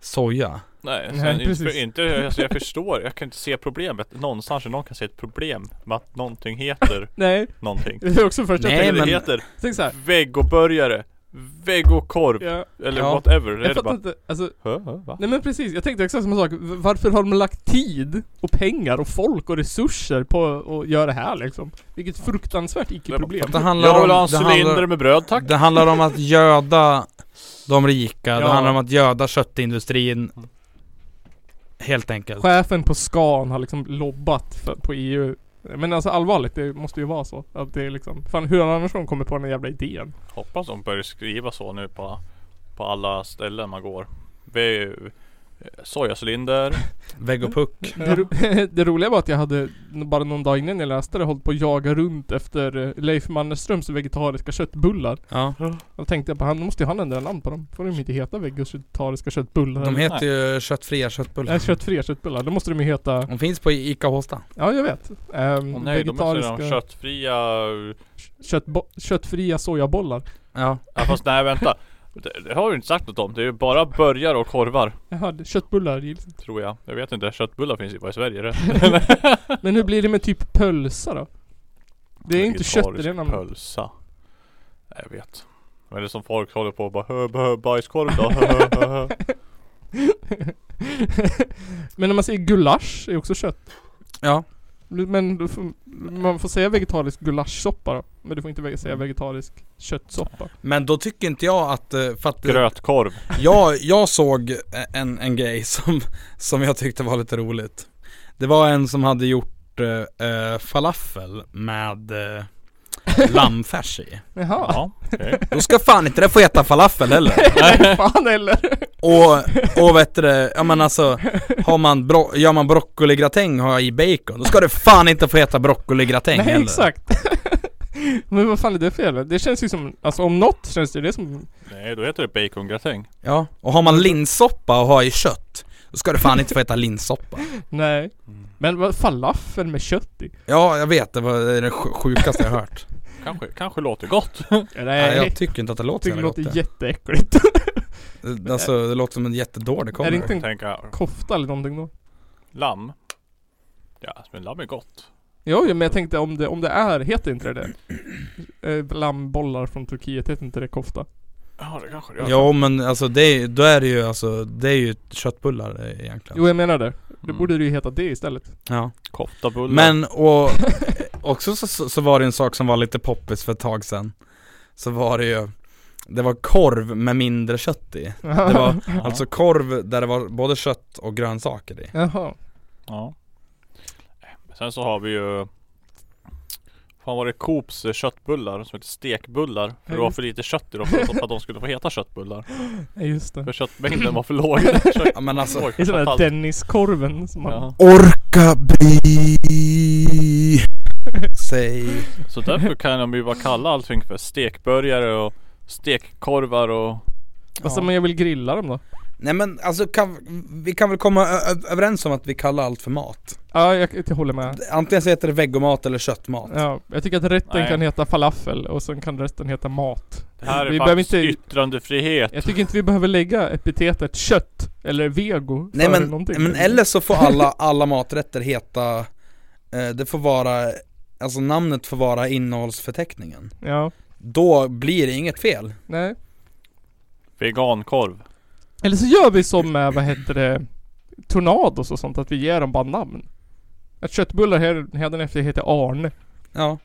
[SPEAKER 1] soja
[SPEAKER 4] Nej,
[SPEAKER 3] Nej,
[SPEAKER 4] sen inte,
[SPEAKER 3] precis.
[SPEAKER 4] inte, alltså jag förstår, jag kan inte se problemet någonstans, hur någon kan se ett problem med att någonting heter
[SPEAKER 3] Nej,
[SPEAKER 4] någonting.
[SPEAKER 3] det är också första
[SPEAKER 1] Nej,
[SPEAKER 3] jag
[SPEAKER 4] Nej,
[SPEAKER 3] tänkte.
[SPEAKER 4] men...
[SPEAKER 1] men-
[SPEAKER 4] Det heter
[SPEAKER 3] Tänk såhär.
[SPEAKER 4] väggoburgare, väggokorv,
[SPEAKER 3] Ja,
[SPEAKER 4] eller
[SPEAKER 1] Ja.
[SPEAKER 4] whatever. Det
[SPEAKER 3] jag
[SPEAKER 4] är det
[SPEAKER 3] fattar
[SPEAKER 4] bara,
[SPEAKER 3] inte. Alltså,
[SPEAKER 4] hö, hö, va?
[SPEAKER 3] nej men precis. Jag tänkte exakt samma sak. V- Varför har de lagt tid och pengar och folk och resurser på att göra det här liksom? Vilket fruktansvärt icke-problem.
[SPEAKER 1] Det handlar
[SPEAKER 4] Jag vill ha
[SPEAKER 1] om,
[SPEAKER 4] en
[SPEAKER 1] det
[SPEAKER 4] cylinder
[SPEAKER 1] handlar,
[SPEAKER 4] med bröd tack.
[SPEAKER 1] det handlar om att göda de rika, det
[SPEAKER 3] Ja.
[SPEAKER 1] handlar om att göda köttindustrin. Helt enkelt.
[SPEAKER 3] Chefen på Scan har liksom lobbat för, på EU. Men alltså allvarligt, det måste ju vara så. Att det är liksom, fan hur annars har de kommit på den här jävla idén?
[SPEAKER 4] Hoppas de börjar skriva så nu på, på alla ställen man går. Vi, eh, sojacylinder.
[SPEAKER 1] Vegopuck.
[SPEAKER 3] Det, ro det roliga var att jag hade, n- bara någon dag innan jag läste det, hållit på att jaga runt efter eh, Leif Mannerströms vegetariska köttbullar.
[SPEAKER 1] Ja.
[SPEAKER 3] Då tänkte jag på han, då måste ju han ändra namn på dem. Får de inte heta vegetariska köttbullar?
[SPEAKER 1] De heter ju köttfria köttbullar.
[SPEAKER 3] Nej, köttfria köttbullar. Då måste de ju heta,
[SPEAKER 1] De finns på Ica Håsta.
[SPEAKER 3] ja jag vet. Ehm,
[SPEAKER 4] Åh nej, de är så de köttfria.
[SPEAKER 3] köttbo- köttfria sojabollar.
[SPEAKER 1] Ja.
[SPEAKER 4] Ja, fast nej vänta. Det, det har du inte sagt något om. Det är ju bara burgare och korvar.
[SPEAKER 3] Jaha, det- köttbullar gills inte.
[SPEAKER 4] Tror jag. Jag vet inte. Köttbullar finns ju bara i Sverige. Det.
[SPEAKER 3] Men hur blir det med typ pölsa då? Det är inte kött i det namnet.
[SPEAKER 4] Pölsa. Nej, jag vet. Men det är som folk håller på och bara hö, hö, bajskorv då. hö, hö, hö, hö."
[SPEAKER 3] Men när man säger gulasch är också kött.
[SPEAKER 1] Ja.
[SPEAKER 3] Men du får, man får säga vegetarisk gulaschsoppa då. Men du får inte vä- säga
[SPEAKER 4] Mm.
[SPEAKER 3] vegetarisk köttsoppa.
[SPEAKER 1] Men då tycker inte jag att, eh, för att
[SPEAKER 4] Grötkorv.
[SPEAKER 1] jag, jag såg en, en grej som, som jag tyckte var lite roligt. Det var en som hade gjort eh, eh, falafel med eh, lammfärs i.
[SPEAKER 3] Jaha.
[SPEAKER 4] Ja, okej.
[SPEAKER 1] Då ska fan inte det få heta falafel heller.
[SPEAKER 3] Nej fan eller?
[SPEAKER 1] Och, och vet du det, ja men alltså har man bro, Gör man broccoligratäng och har i bacon, då ska det fan inte få heta broccoligratäng
[SPEAKER 3] Nej
[SPEAKER 1] heller.
[SPEAKER 3] exakt. Men vad fan är det för jävla? Det känns ju som, alltså om något känns det ju det som...
[SPEAKER 4] Nej, då heter det bacongratäng.
[SPEAKER 1] Ja, och har man linssoppa och har i kött, då ska det fan inte få heta linssoppa.
[SPEAKER 3] Nej. Men vad, falafel med kött i?
[SPEAKER 1] Ja, jag vet, det var det är det sj- sjukaste jag hört.
[SPEAKER 4] Kanske, kanske låter gott.
[SPEAKER 3] Nej.
[SPEAKER 1] Nej,
[SPEAKER 3] jag
[SPEAKER 1] jag tycker inte att det låter
[SPEAKER 3] tycker
[SPEAKER 1] så
[SPEAKER 3] det
[SPEAKER 1] jävla gott.
[SPEAKER 3] låter
[SPEAKER 1] det.
[SPEAKER 3] jätteäckligt.
[SPEAKER 1] Det- Alltså det låter som en jättedålig
[SPEAKER 3] Är det
[SPEAKER 1] kombo.
[SPEAKER 3] inte-
[SPEAKER 4] Tänka
[SPEAKER 3] Kofta eller någonting då? Lamm?
[SPEAKER 4] Ja, men lamm är gott.
[SPEAKER 3] Jo, jo, men jag tänkte om det, om det är, heter inte det det? Eh, Lammbollar från Turkiet, heter inte det kofta?
[SPEAKER 4] Ja, det kanske det gör.
[SPEAKER 1] Ja men alltså det är, då är det ju alltså, det är ju köttbullar eh, egentligen.
[SPEAKER 3] Jo jag menar det. Då
[SPEAKER 4] Mm.
[SPEAKER 3] borde det ju heta det istället.
[SPEAKER 1] Ja.
[SPEAKER 4] Koftabullar.
[SPEAKER 1] Men och också så- så, så var det en sak som var lite poppis för ett tag sedan. Så var det ju, det var korv med mindre kött i. Det var alltså korv där det var både kött och grönsaker i.
[SPEAKER 3] Jaha.
[SPEAKER 4] Ja. Eh, Sen så har vi ju Fan var det Coops eh, köttbullar som heter stekbullar? För det var för lite kött i dem för att- för att de skulle få heta köttbullar.
[SPEAKER 3] Ja just det.
[SPEAKER 4] För köttmängden var för låg.
[SPEAKER 1] Ja men alltså
[SPEAKER 4] Låg
[SPEAKER 3] Det är sån där
[SPEAKER 4] fatalt.
[SPEAKER 3] Denniskorven som man...
[SPEAKER 4] Ja.
[SPEAKER 1] Orka bli Säg
[SPEAKER 4] Så därför kan de ju bara kalla allting för stekbörjare och stekkorvar och
[SPEAKER 3] Alltså men jag vill grilla dem då.
[SPEAKER 1] Nej men alltså kan, vi kan väl komma ö- ö- överens om att vi kallar allt för mat
[SPEAKER 3] Ja, jag, jag håller med.
[SPEAKER 1] Antingen så heter det veggomat eller köttmat
[SPEAKER 3] Ja, jag tycker att rätten
[SPEAKER 4] Nej.
[SPEAKER 3] kan heta falafel och sen kan resten heta mat.
[SPEAKER 4] Det här är
[SPEAKER 3] Vi behöver
[SPEAKER 4] faktiskt
[SPEAKER 3] inte-
[SPEAKER 4] yttrandefrihet.
[SPEAKER 3] Jag tycker inte vi behöver lägga epitetet kött eller vego
[SPEAKER 1] Nej
[SPEAKER 3] före
[SPEAKER 1] men,
[SPEAKER 3] någonting.
[SPEAKER 1] men eller så får alla, alla maträtter heta eh, Det får vara Alltså namnet får vara innehållsförteckningen
[SPEAKER 3] Ja.
[SPEAKER 1] Då blir det inget fel
[SPEAKER 3] Nej.
[SPEAKER 4] Vegankorv.
[SPEAKER 3] Eller så gör vi som med, vad heter det, Tornados och sånt, att vi ger dem bara namn. Att köttbullar här- hädanefter heter Arne.
[SPEAKER 1] Ja,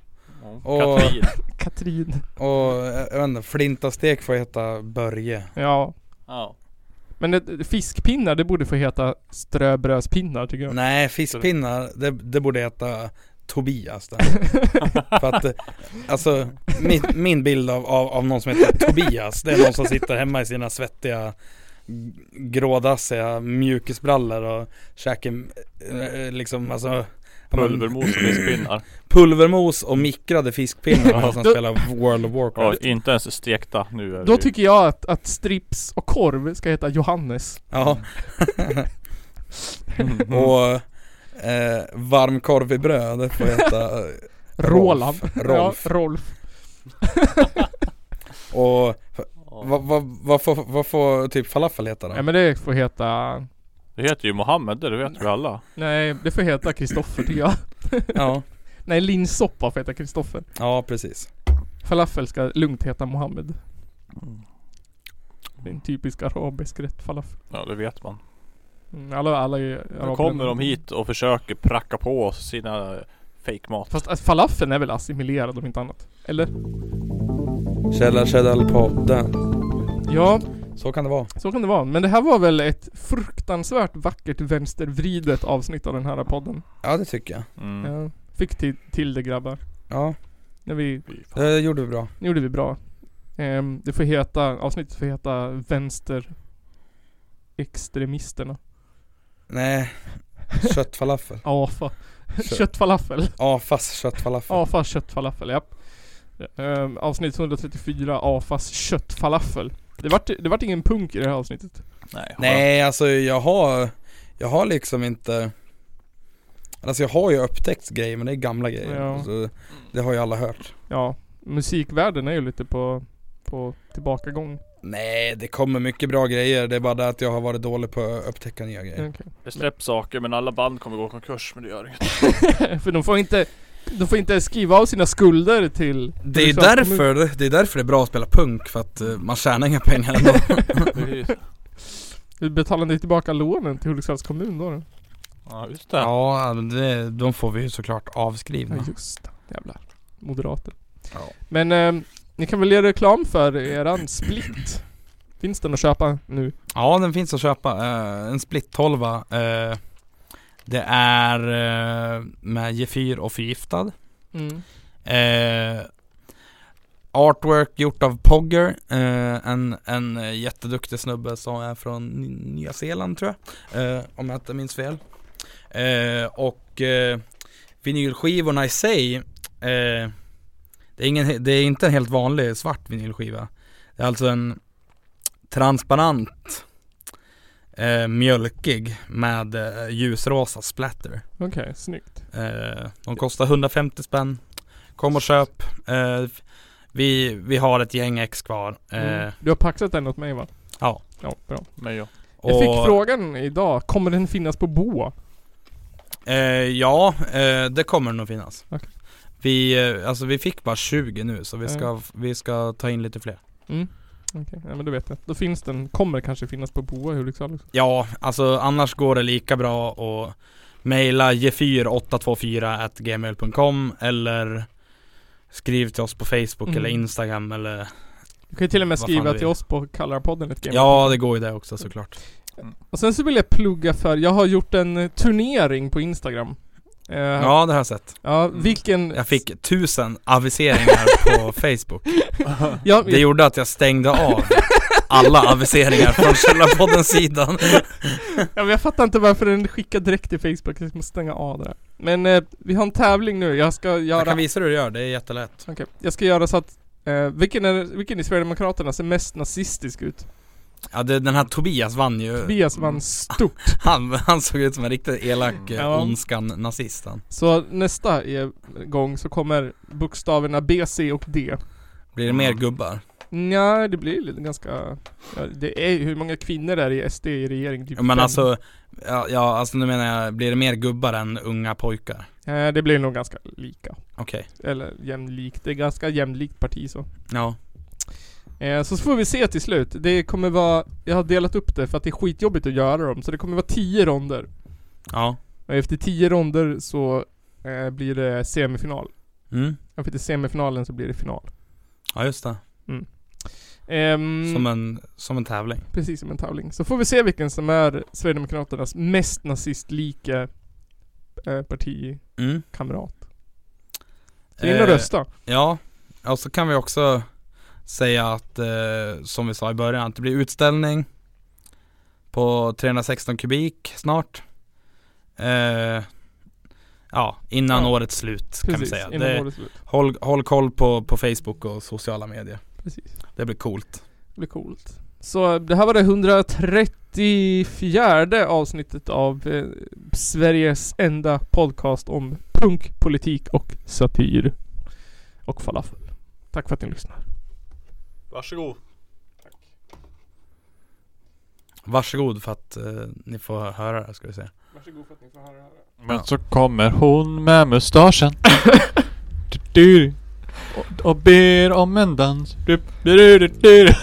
[SPEAKER 4] Och...
[SPEAKER 1] Och-
[SPEAKER 4] Katrin.
[SPEAKER 3] Katrin.
[SPEAKER 1] och eh, jag vet inte, flintastek får heta Börje
[SPEAKER 3] Ja.
[SPEAKER 4] Ja.
[SPEAKER 3] Men det, fiskpinnar, det borde få heta ströbrödspinnar tycker jag.
[SPEAKER 1] Nej, fiskpinnar, det, det borde heta Tobias där. För att, eh, alltså min, min bild av, av, av någon som heter Tobias, det är någon som sitter hemma i sina svettiga g- grådassiga mjukisbrallor och käkar eh, liksom alltså ja, men,
[SPEAKER 4] Pulvermos och fiskpinnar.
[SPEAKER 1] Pulvermos och mikrade fiskpinnar och som
[SPEAKER 3] Då-
[SPEAKER 1] spelar World of
[SPEAKER 4] Ja,
[SPEAKER 1] Warcraft.
[SPEAKER 4] inte ens stekta. Nu är det
[SPEAKER 3] Då
[SPEAKER 4] ju-
[SPEAKER 3] tycker jag att, att strips och korv ska heta Johannes.
[SPEAKER 1] Ja. och eh, varm korv i bröd det får heta eh,
[SPEAKER 3] Roland.
[SPEAKER 1] Rolf.
[SPEAKER 3] Ja, Rolf.
[SPEAKER 1] Och
[SPEAKER 4] Ja.
[SPEAKER 1] vad vad- vad får, vad får typ falafel heta då?
[SPEAKER 3] Mm. Nej men det får heta...
[SPEAKER 4] Det heter ju Mohammed, det vet vi alla.
[SPEAKER 3] Nej, det får heta Kristoffer tycker jag.
[SPEAKER 1] Ja,
[SPEAKER 3] Nej, linssoppa får heta Kristoffer.
[SPEAKER 1] ja precis.
[SPEAKER 3] Falafel ska lugnt heta Mohammed. Det är en typisk arabisk rätt, falafel.
[SPEAKER 4] Ja, det vet man.
[SPEAKER 3] Mm, Alla, alla i
[SPEAKER 4] Nu
[SPEAKER 3] arabländerna.
[SPEAKER 4] kommer de hit och försöker pracka på oss sina fejkmat.
[SPEAKER 3] Fast alltså, falafeln är väl assimilerad om inte annat? Eller?
[SPEAKER 1] Källarkällarpodden.
[SPEAKER 3] Ja,
[SPEAKER 1] Så kan det vara.
[SPEAKER 3] så kan det vara. Men det här var väl ett fruktansvärt vackert vänstervridet avsnitt av den här podden.
[SPEAKER 1] Ja det tycker jag.
[SPEAKER 4] Mm.
[SPEAKER 3] Ja, fick till, till det grabbar.
[SPEAKER 1] Ja,
[SPEAKER 3] När vi,
[SPEAKER 4] Fy fan.
[SPEAKER 1] det gjorde vi bra.
[SPEAKER 3] nu gjorde vi bra. Ehm, det får heta, avsnittet får heta vänster extremisterna.
[SPEAKER 1] Nej, köttfalafel.
[SPEAKER 3] AFA.
[SPEAKER 1] Kött.
[SPEAKER 3] Köttfalafel.
[SPEAKER 1] Afas köttfalafel.
[SPEAKER 3] AFAs köttfalafel, ja. Ehm, avsnitt 134, AFAs köttfalafel. Det vart, det vart ingen punk i det här avsnittet.
[SPEAKER 4] Nej,
[SPEAKER 1] Nej alltså jag har, jag har liksom inte Alltså jag har ju upptäckt grejer men det är gamla grejer.
[SPEAKER 3] Ja.
[SPEAKER 1] Så det har ju alla hört.
[SPEAKER 3] Ja, musikvärlden är ju lite på, på tillbakagång.
[SPEAKER 1] Nej det kommer mycket bra grejer, det är bara det att jag har varit dålig på att upptäcka nya grejer.
[SPEAKER 3] Okej.
[SPEAKER 4] Det släpps saker men alla band kommer gå i konkurs men det gör inget.
[SPEAKER 3] För de får inte, de får inte skriva av sina skulder till...
[SPEAKER 1] Det är
[SPEAKER 3] till staten.
[SPEAKER 1] därför, det är därför det är bra att spela punk för att eh, man tjänar inga pengar ändå.
[SPEAKER 3] Du betalar inte tillbaka lånen till Hudiksvalls kommun då? då?
[SPEAKER 4] Ja just det.
[SPEAKER 1] ja, det, de får vi ju såklart avskrivna.
[SPEAKER 3] Ja just det. Jävlar. Moderater.
[SPEAKER 1] Ja.
[SPEAKER 3] Men eh, ni kan väl göra reklam för eran split? Finns den att köpa nu?
[SPEAKER 1] Ja, den finns att köpa. Eh, en split 12 eh, Det är eh, med Gefyr och förgiftad.
[SPEAKER 3] Mm.
[SPEAKER 1] Eh, artwork gjort av Pogger, eh, en, en eh, jätteduktig snubbe som är från Ny- Nya Zeeland tror jag, eh, om jag inte minns fel. Eh, och eh, vinylskivorna i sig, eh, det, är ingen, det är inte en helt vanlig svart vinylskiva. Det är alltså en transparent, eh, mjölkig med eh, ljusrosa splatter.
[SPEAKER 3] Okej, snyggt.
[SPEAKER 1] Eh, de kostar 150 spänn. Kom och köp. Eh, vi, vi har ett gäng ex kvar. Eh,
[SPEAKER 3] Mm. Du har paxat den åt mig va?
[SPEAKER 1] Ja.
[SPEAKER 3] Ja, bra.
[SPEAKER 4] Men ja.
[SPEAKER 1] och,
[SPEAKER 3] Mm. Jag fick frågan idag, kommer den finnas på Boa?
[SPEAKER 1] eh, Ja, eh, det kommer nog finnas.
[SPEAKER 3] Okej.
[SPEAKER 1] Vi, eh, alltså vi fick bara 20 nu så vi ska,
[SPEAKER 3] Mm.
[SPEAKER 1] vi ska ta in lite fler.
[SPEAKER 3] Okej, ja, men då vet jag. Då finns den, kommer kanske finnas på Boa i Hudiksvall också.
[SPEAKER 1] Ja, alltså annars går det lika bra att mejla gefyr824gmail.com eller skriv till oss på Facebook
[SPEAKER 3] Mm.
[SPEAKER 1] eller Instagram eller
[SPEAKER 3] Du kan ju till och med
[SPEAKER 1] Vad fan du
[SPEAKER 3] skriva
[SPEAKER 1] vill.
[SPEAKER 3] till oss på Kallarpodden ett game.
[SPEAKER 1] Ja, det går ju det också såklart.
[SPEAKER 3] Och sen så vill jag plugga för, jag har gjort en eh, turnering på Instagram. Eh, ja.
[SPEAKER 1] Ja, det har jag sett.
[SPEAKER 3] vilken...
[SPEAKER 1] Jag fick tusen aviseringar på Facebook.
[SPEAKER 3] Ja,
[SPEAKER 1] Det gjorde att jag stängde av alla aviseringar från Källarpodden-sidan.
[SPEAKER 3] Ja, men jag fattar inte varför den skickar direkt till Facebook, jag måste stänga av det där. Men eh, vi har en tävling nu, jag ska
[SPEAKER 1] Jag
[SPEAKER 3] göra...
[SPEAKER 1] kan visa hur du gör, det är jättelätt.
[SPEAKER 3] Okej, jag ska göra så att... Eh, vilken, är, vilken i Sverigedemokraterna ser mest nazistisk ut?
[SPEAKER 1] Ja, det, den här Tobias vann ju.
[SPEAKER 3] Tobias vann stort.
[SPEAKER 1] Han, han såg ut som en riktigt elak eh,
[SPEAKER 3] Ja.
[SPEAKER 1] ondskan-nazist han.
[SPEAKER 3] Så nästa eh, gång så kommer bokstäverna B, C och D.
[SPEAKER 1] Blir det mer gubbar?
[SPEAKER 3] Nja, det blir lite ganska... Ja, det är ju- hur många kvinnor är det i SD i regering? Typ
[SPEAKER 1] Ja, Men
[SPEAKER 3] fem.
[SPEAKER 1] alltså, ja, ja alltså nu menar jag, blir det mer gubbar än unga pojkar?
[SPEAKER 3] Eh, det blir nog ganska lika.
[SPEAKER 1] Okej,
[SPEAKER 3] Eller jämlikt. Det är ganska jämlikt parti så.
[SPEAKER 1] ja.
[SPEAKER 3] Eh, så får vi se till slut. Det kommer vara, jag har delat upp det för att det är skitjobbigt att göra dem, så det kommer vara 10 ronder.
[SPEAKER 1] Ja.
[SPEAKER 3] Och efter 10 ronder så eh, blir det semifinal.
[SPEAKER 1] Mm.
[SPEAKER 3] Och efter semifinalen så blir det final.
[SPEAKER 1] Ja just det,
[SPEAKER 3] Ehm,
[SPEAKER 1] som en, som en tävling.
[SPEAKER 3] Precis som en tävling. Så får vi se vilken som är Sverigedemokraternas mest nazistlika eh, partikamrat.
[SPEAKER 1] Mm.
[SPEAKER 3] Så in och
[SPEAKER 1] Eh,
[SPEAKER 3] rösta.
[SPEAKER 1] Ja, och så kan vi också säga att eh, som vi sa i början, att det blir utställning på 316 kubik snart. Eh, ja, innan
[SPEAKER 3] Ja.
[SPEAKER 1] årets slut kan vi
[SPEAKER 3] Precis,
[SPEAKER 1] säga.
[SPEAKER 3] innan
[SPEAKER 1] Det,
[SPEAKER 3] årets slut.
[SPEAKER 1] håll, håll koll på, på Facebook och sociala medier.
[SPEAKER 3] Precis.
[SPEAKER 1] Det blir coolt.
[SPEAKER 3] Det blir coolt. Så det här var det 134 avsnittet av eh, Sveriges enda podcast om punk, politik och satir. Och falafel. Tack för att ni lyssnar.
[SPEAKER 4] Varsågod.
[SPEAKER 1] Varsågod för att eh, ni får höra det här ska vi se
[SPEAKER 8] Varsågod för att ni får höra det här.
[SPEAKER 1] Men
[SPEAKER 4] Men så kommer hon med mustaschen Du- du. och, och ber om en dans Du- du- du- du- du.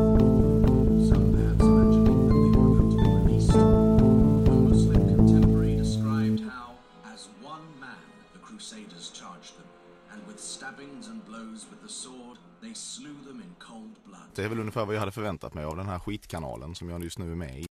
[SPEAKER 9] Some maps mentioning that they were going to be released. A Muslim contemporary described how, as one man, the Crusaders charged them, and with stabbings and blows with the sword, they slew them in cold blood.
[SPEAKER 10] Det är väl ungefär vad jag hade förväntat mig av den här skitkanalen som jag just nu är med i.